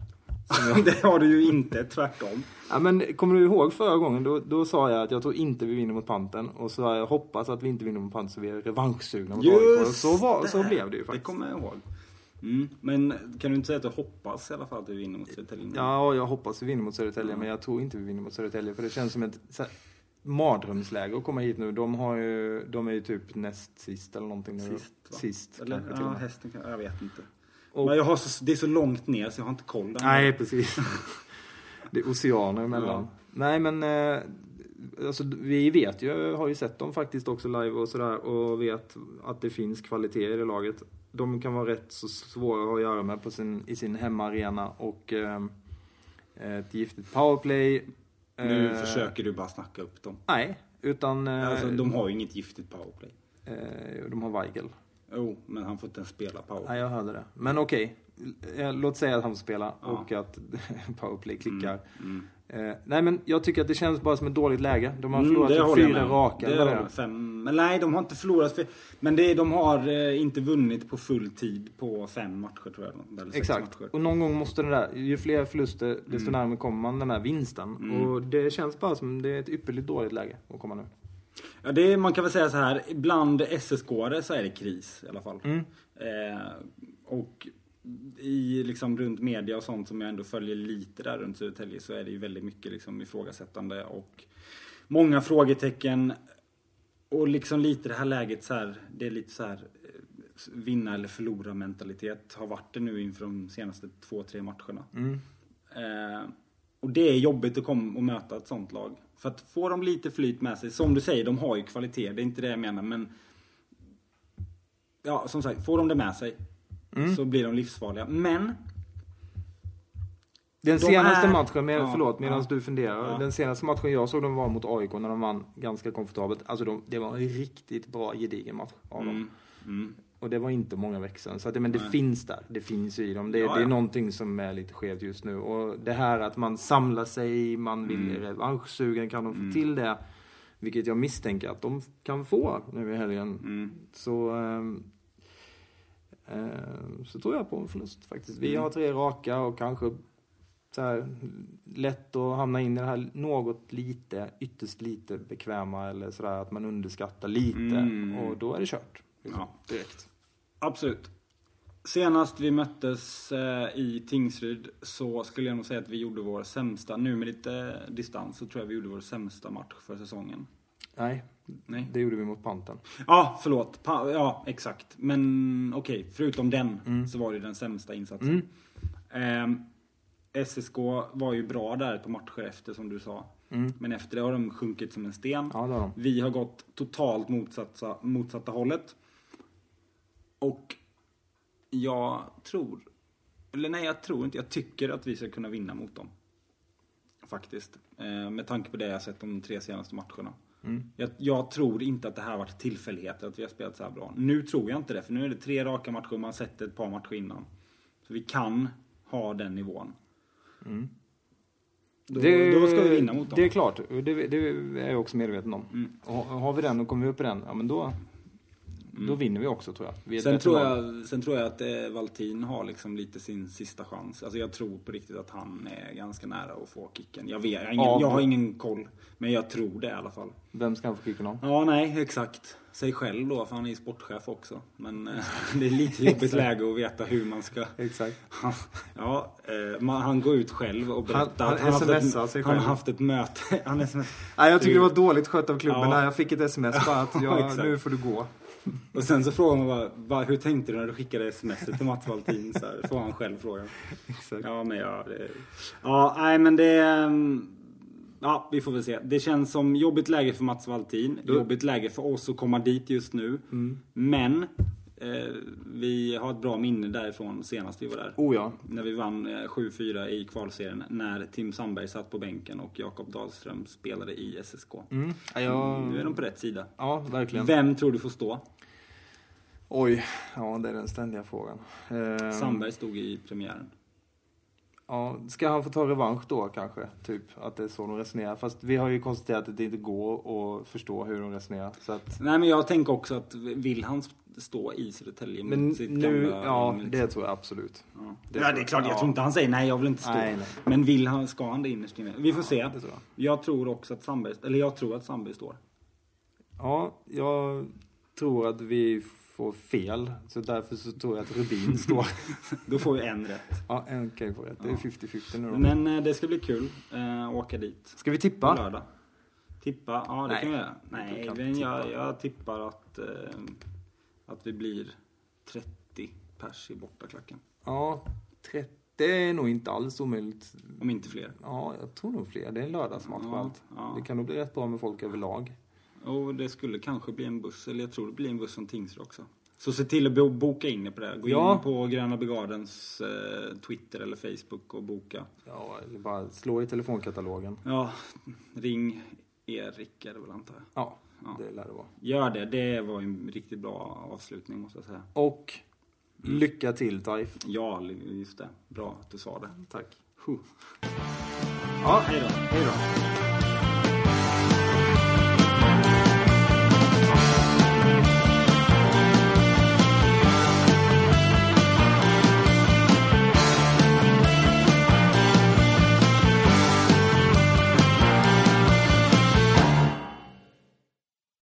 (laughs) det har du ju
(laughs)
inte, tvärtom.
Ja, men kommer du ihåg förra gången? Då, då sa jag att jag tror inte vi vinner mot Panten och så sa jag hoppas att vi inte vinner mot Panten så vi är revanschsugna mot AIK. Och Så, var, så
det.
blev det ju
Det
faktiskt.
kommer jag ihåg. Mm. Men kan du inte säga att du hoppas i alla fall att du vinner mot Södertälje? nu?
Ja, jag hoppas vi vinner mot Södertälje, men jag tror inte vi vinner mot Södertälje. För det känns som ett så här, mardrömsläge att komma hit nu. De, har ju, de är ju typ näst sist eller någonting. Nu.
Sist, va?
Sist
Eller,
kanske till
ja,
och med.
hästen kan, jag vet inte.
Och-
Men jag har så, det är så långt ner så jag har inte koll där.
Nej, precis. (laughs) det är oceaner emellan.
Ja.
Nej, men eh, alltså, vi vet ju, har ju sett dem faktiskt också live och sådär och vet att det finns kvalitet i det laget. De kan vara rätt så svåra att göra med på sin, i sin hemmaarena och eh, ett giftigt powerplay.
Nu
Eh,
försöker du bara snacka upp dem.
Nej, utan eh,
Alltså, de har ju inget giftigt powerplay.
eh, de har Weigel.
Jo, men han får inte ens spela powerplay.
Nej, jag hörde det. Men okej, Eh, låt säga att han får spela
Ja.
och att (laughs) powerplay klickar.
Mm.
Eh, nej, men jag tycker att det känns bara som ett dåligt läge. De har
Mm,
förlorat
det
typ
håller jag
fyra
med om.
raka.
Det
eller
har
vad
de.
det
fem, men nej, de har inte förlorat. För, men det, de har eh, inte vunnit på full tid på fem matcher tror jag. Eller
är.
sex
Exakt.
Matcher. Mm.
Och någon gång måste den där, ju fler förluster desto närmare kommer man den här vinsten. Och det känns bara som det är ett ypperligt dåligt läge att komma nu.
Ja, det är, man kan väl säga så här, bland SSK-are så är det kris i alla fall. Eh, och i liksom runt media och sånt som jag ändå följer lite där runt Södertälje så är det ju väldigt mycket liksom ifrågasättande och många frågetecken. Och liksom lite det här läget så här, det är lite så här eh, vinna eller förlora mentalitet har varit det nu inför de senaste två, tre matcherna. Eh, och det är jobbigt att komma och möta ett sånt lag. För att få dem lite flyt med sig, som du säger, de har ju kvalitet, det är inte det jag menar, men ja, som sagt, får de det med sig så blir de livsfarliga. Men
Den
De
senaste
är-
matchen, med,
Ja,
förlåt medan
ja.
du funderar.
Ja.
Den senaste matchen jag såg dem var mot AIK när de vann ganska komfortabelt. Alltså de, det var en riktigt bra gedigen match av
mm,
dem. Och det var inte många veckor sedan. Så att, men det finns där. Det finns i dem. Det,
Ja,
det är
ja.
någonting som är lite skevt just nu. Och det här att man samlar sig, man vill
Mm.
revanschsugen. Kan de få till det? Vilket jag misstänker att de kan få nu i helgen.
Mm.
Så, ehm, ehm, så tror jag på en förlust faktiskt. Vi
Mm.
har tre raka och kanske så här, lätt att hamna in i det här något lite, ytterst lite bekväma eller sådär att man underskattar lite
Mm.
och då är det kört.
Ja.
Direkt.
Absolut. Senast vi möttes eh, i Tingsryd så skulle jag nog säga att vi gjorde vår sämsta, nu med lite eh, distans, så tror jag vi gjorde vår sämsta match för säsongen.
Nej,
Nej.
det gjorde vi mot Panten.
Ja, förlåt. Pa- ja, exakt. Men okej, förutom den så var det den sämsta insatsen. Ehm, SSK var ju bra där på matcher efter som du sa. Men efter det har de sjunkit som en sten.
Ja, det har de.
Vi har gått totalt motsatta, motsatta hållet. Och jag tror, eller nej jag tror inte, jag tycker att vi ska kunna vinna mot dem. Faktiskt. Eh, med tanke på det jag har sett de tre senaste matcherna.
Mm.
Jag, jag tror inte att det här varit tillfälligheter att vi har spelat så här bra. Nu tror jag inte det, för nu är det tre raka matcher och man har sett ett par matcher innan. Så vi kan ha den nivån. Då, då ska vi vinna mot
Mm.
dem. Mm.
Det är klart, det, det är jag också medveten om. Och har vi den och kommer vi upp i den, ja men då, då vinner vi också tror jag. Vi är ett
Mm. Sen
bättre
tror,
lag.
jag, sen tror jag att eh, Valtin har liksom lite sin sista chans. Alltså jag tror på riktigt att han är ganska nära att få kicken. Jag, vet, jag, har ingen,
Ja,
jag har
men-
ingen koll, men jag tror det i alla fall.
Vem ska han få kicken av?
Ja, nej, exakt. Sig själv då, för han är ju sportchef också. Men (laughs) eh, det är lite jobbigt läge att veta hur man ska...
Exakt.
Ja, eh, man, han går ut själv och berättar
Han-
att
han
han, haft
smsar
ett,
sig
han
själv.
har haft ett möte. (laughs) Han sms
Nej, jag tycker det var dåligt skött av klubben.
Ja.
Nej, Jag fick ett sms bara
(laughs)
att
Ja,
jag,
exakt.
nu får du gå.
Och sen så frågar man bara, "Va, hur tänkte du när du skickade sms till Mats Valtin? Så här, får han själv frågan.
(laughs) Exakt.
Ja, men ja. Det... Ja, nej, men det... ehm, Ja, vi får väl se. Det känns som jobbigt läge för Mats Valtin. Jobbigt läge för oss att komma dit just nu.
Mm.
Men eh, vi har ett bra minne därifrån senast vi var där.
Oh ja,
När vi vann eh, 7-4 i kvalserien. När Tim Sandberg satt på bänken och Jakob Dahlström spelade i SSK.
Mm. Ja, jag-
Nu är de på rätt sida.
ja, verkligen.
Vem tror du får stå?
Oj, ja det är den ständiga frågan. Ehm,
Sandberg stod i premiären.
ja, ska han få ta revansch då kanske? Typ att det är så de resonerar. Fast vi har ju konstaterat att det inte går att förstå hur de resonerar. Så att,
Nej men jag tänker också att vill han stå i Södertälje mot
men
Mm, sitt
nu,
gamla...
ja
liksom-
det tror jag absolut.
Ja.
Det
Det,
tror
det är
jag.
klart,
Ja.
jag tror inte han säger nej, jag vill inte stå.
Nej, nej.
Men vill han, ska han det innerst inne? Vi får se.
det tror jag.
tror också att Sandberg, eller jag tror att
(laughs)
Sandberg står.
Ja, jag tror att vi får fel. Så därför så tror jag att Rubin
(laughs)
står.
Då får vi en rätt.
Ja, en kan ju få rätt. Det är 50-50 nu då.
Men eh, det ska bli kul eh, att åka dit.
Ska vi
På
tippa?
lördag. Tippa, ja det
Nej.
kan vi göra.
Du
Nej,
kan
men jag,
tippa.
jag tippar att, eh, att vi blir 30 pers i bortaklacken.
Ja, 30 det är nog inte alls omöjligt.
Om inte fler.
Ja, jag tror nog fler. Det är en lördagsmatch och
Ja,
allt.
ja.
Det kan nog bli rätt bra med folk överlag.
Och det skulle kanske bli en buss, eller jag tror det blir en buss från Tingsryd också. Så se till att bo- boka in er på det. här. Gå
Ja.
in på Gröna Brigadens eh, Twitter eller Facebook och boka.
Ja, eller bara slå i telefonkatalogen.
Ja, ring Erik är det väl antar jag.
Ja,
Ja.
det lär det vara.
Gör det, det var en riktigt bra avslutning måste jag säga.
Och lycka till Taif.
Ja, just det. Bra att du sa det.
Tack.
Huh.
Ja,
Hej då.
hej då.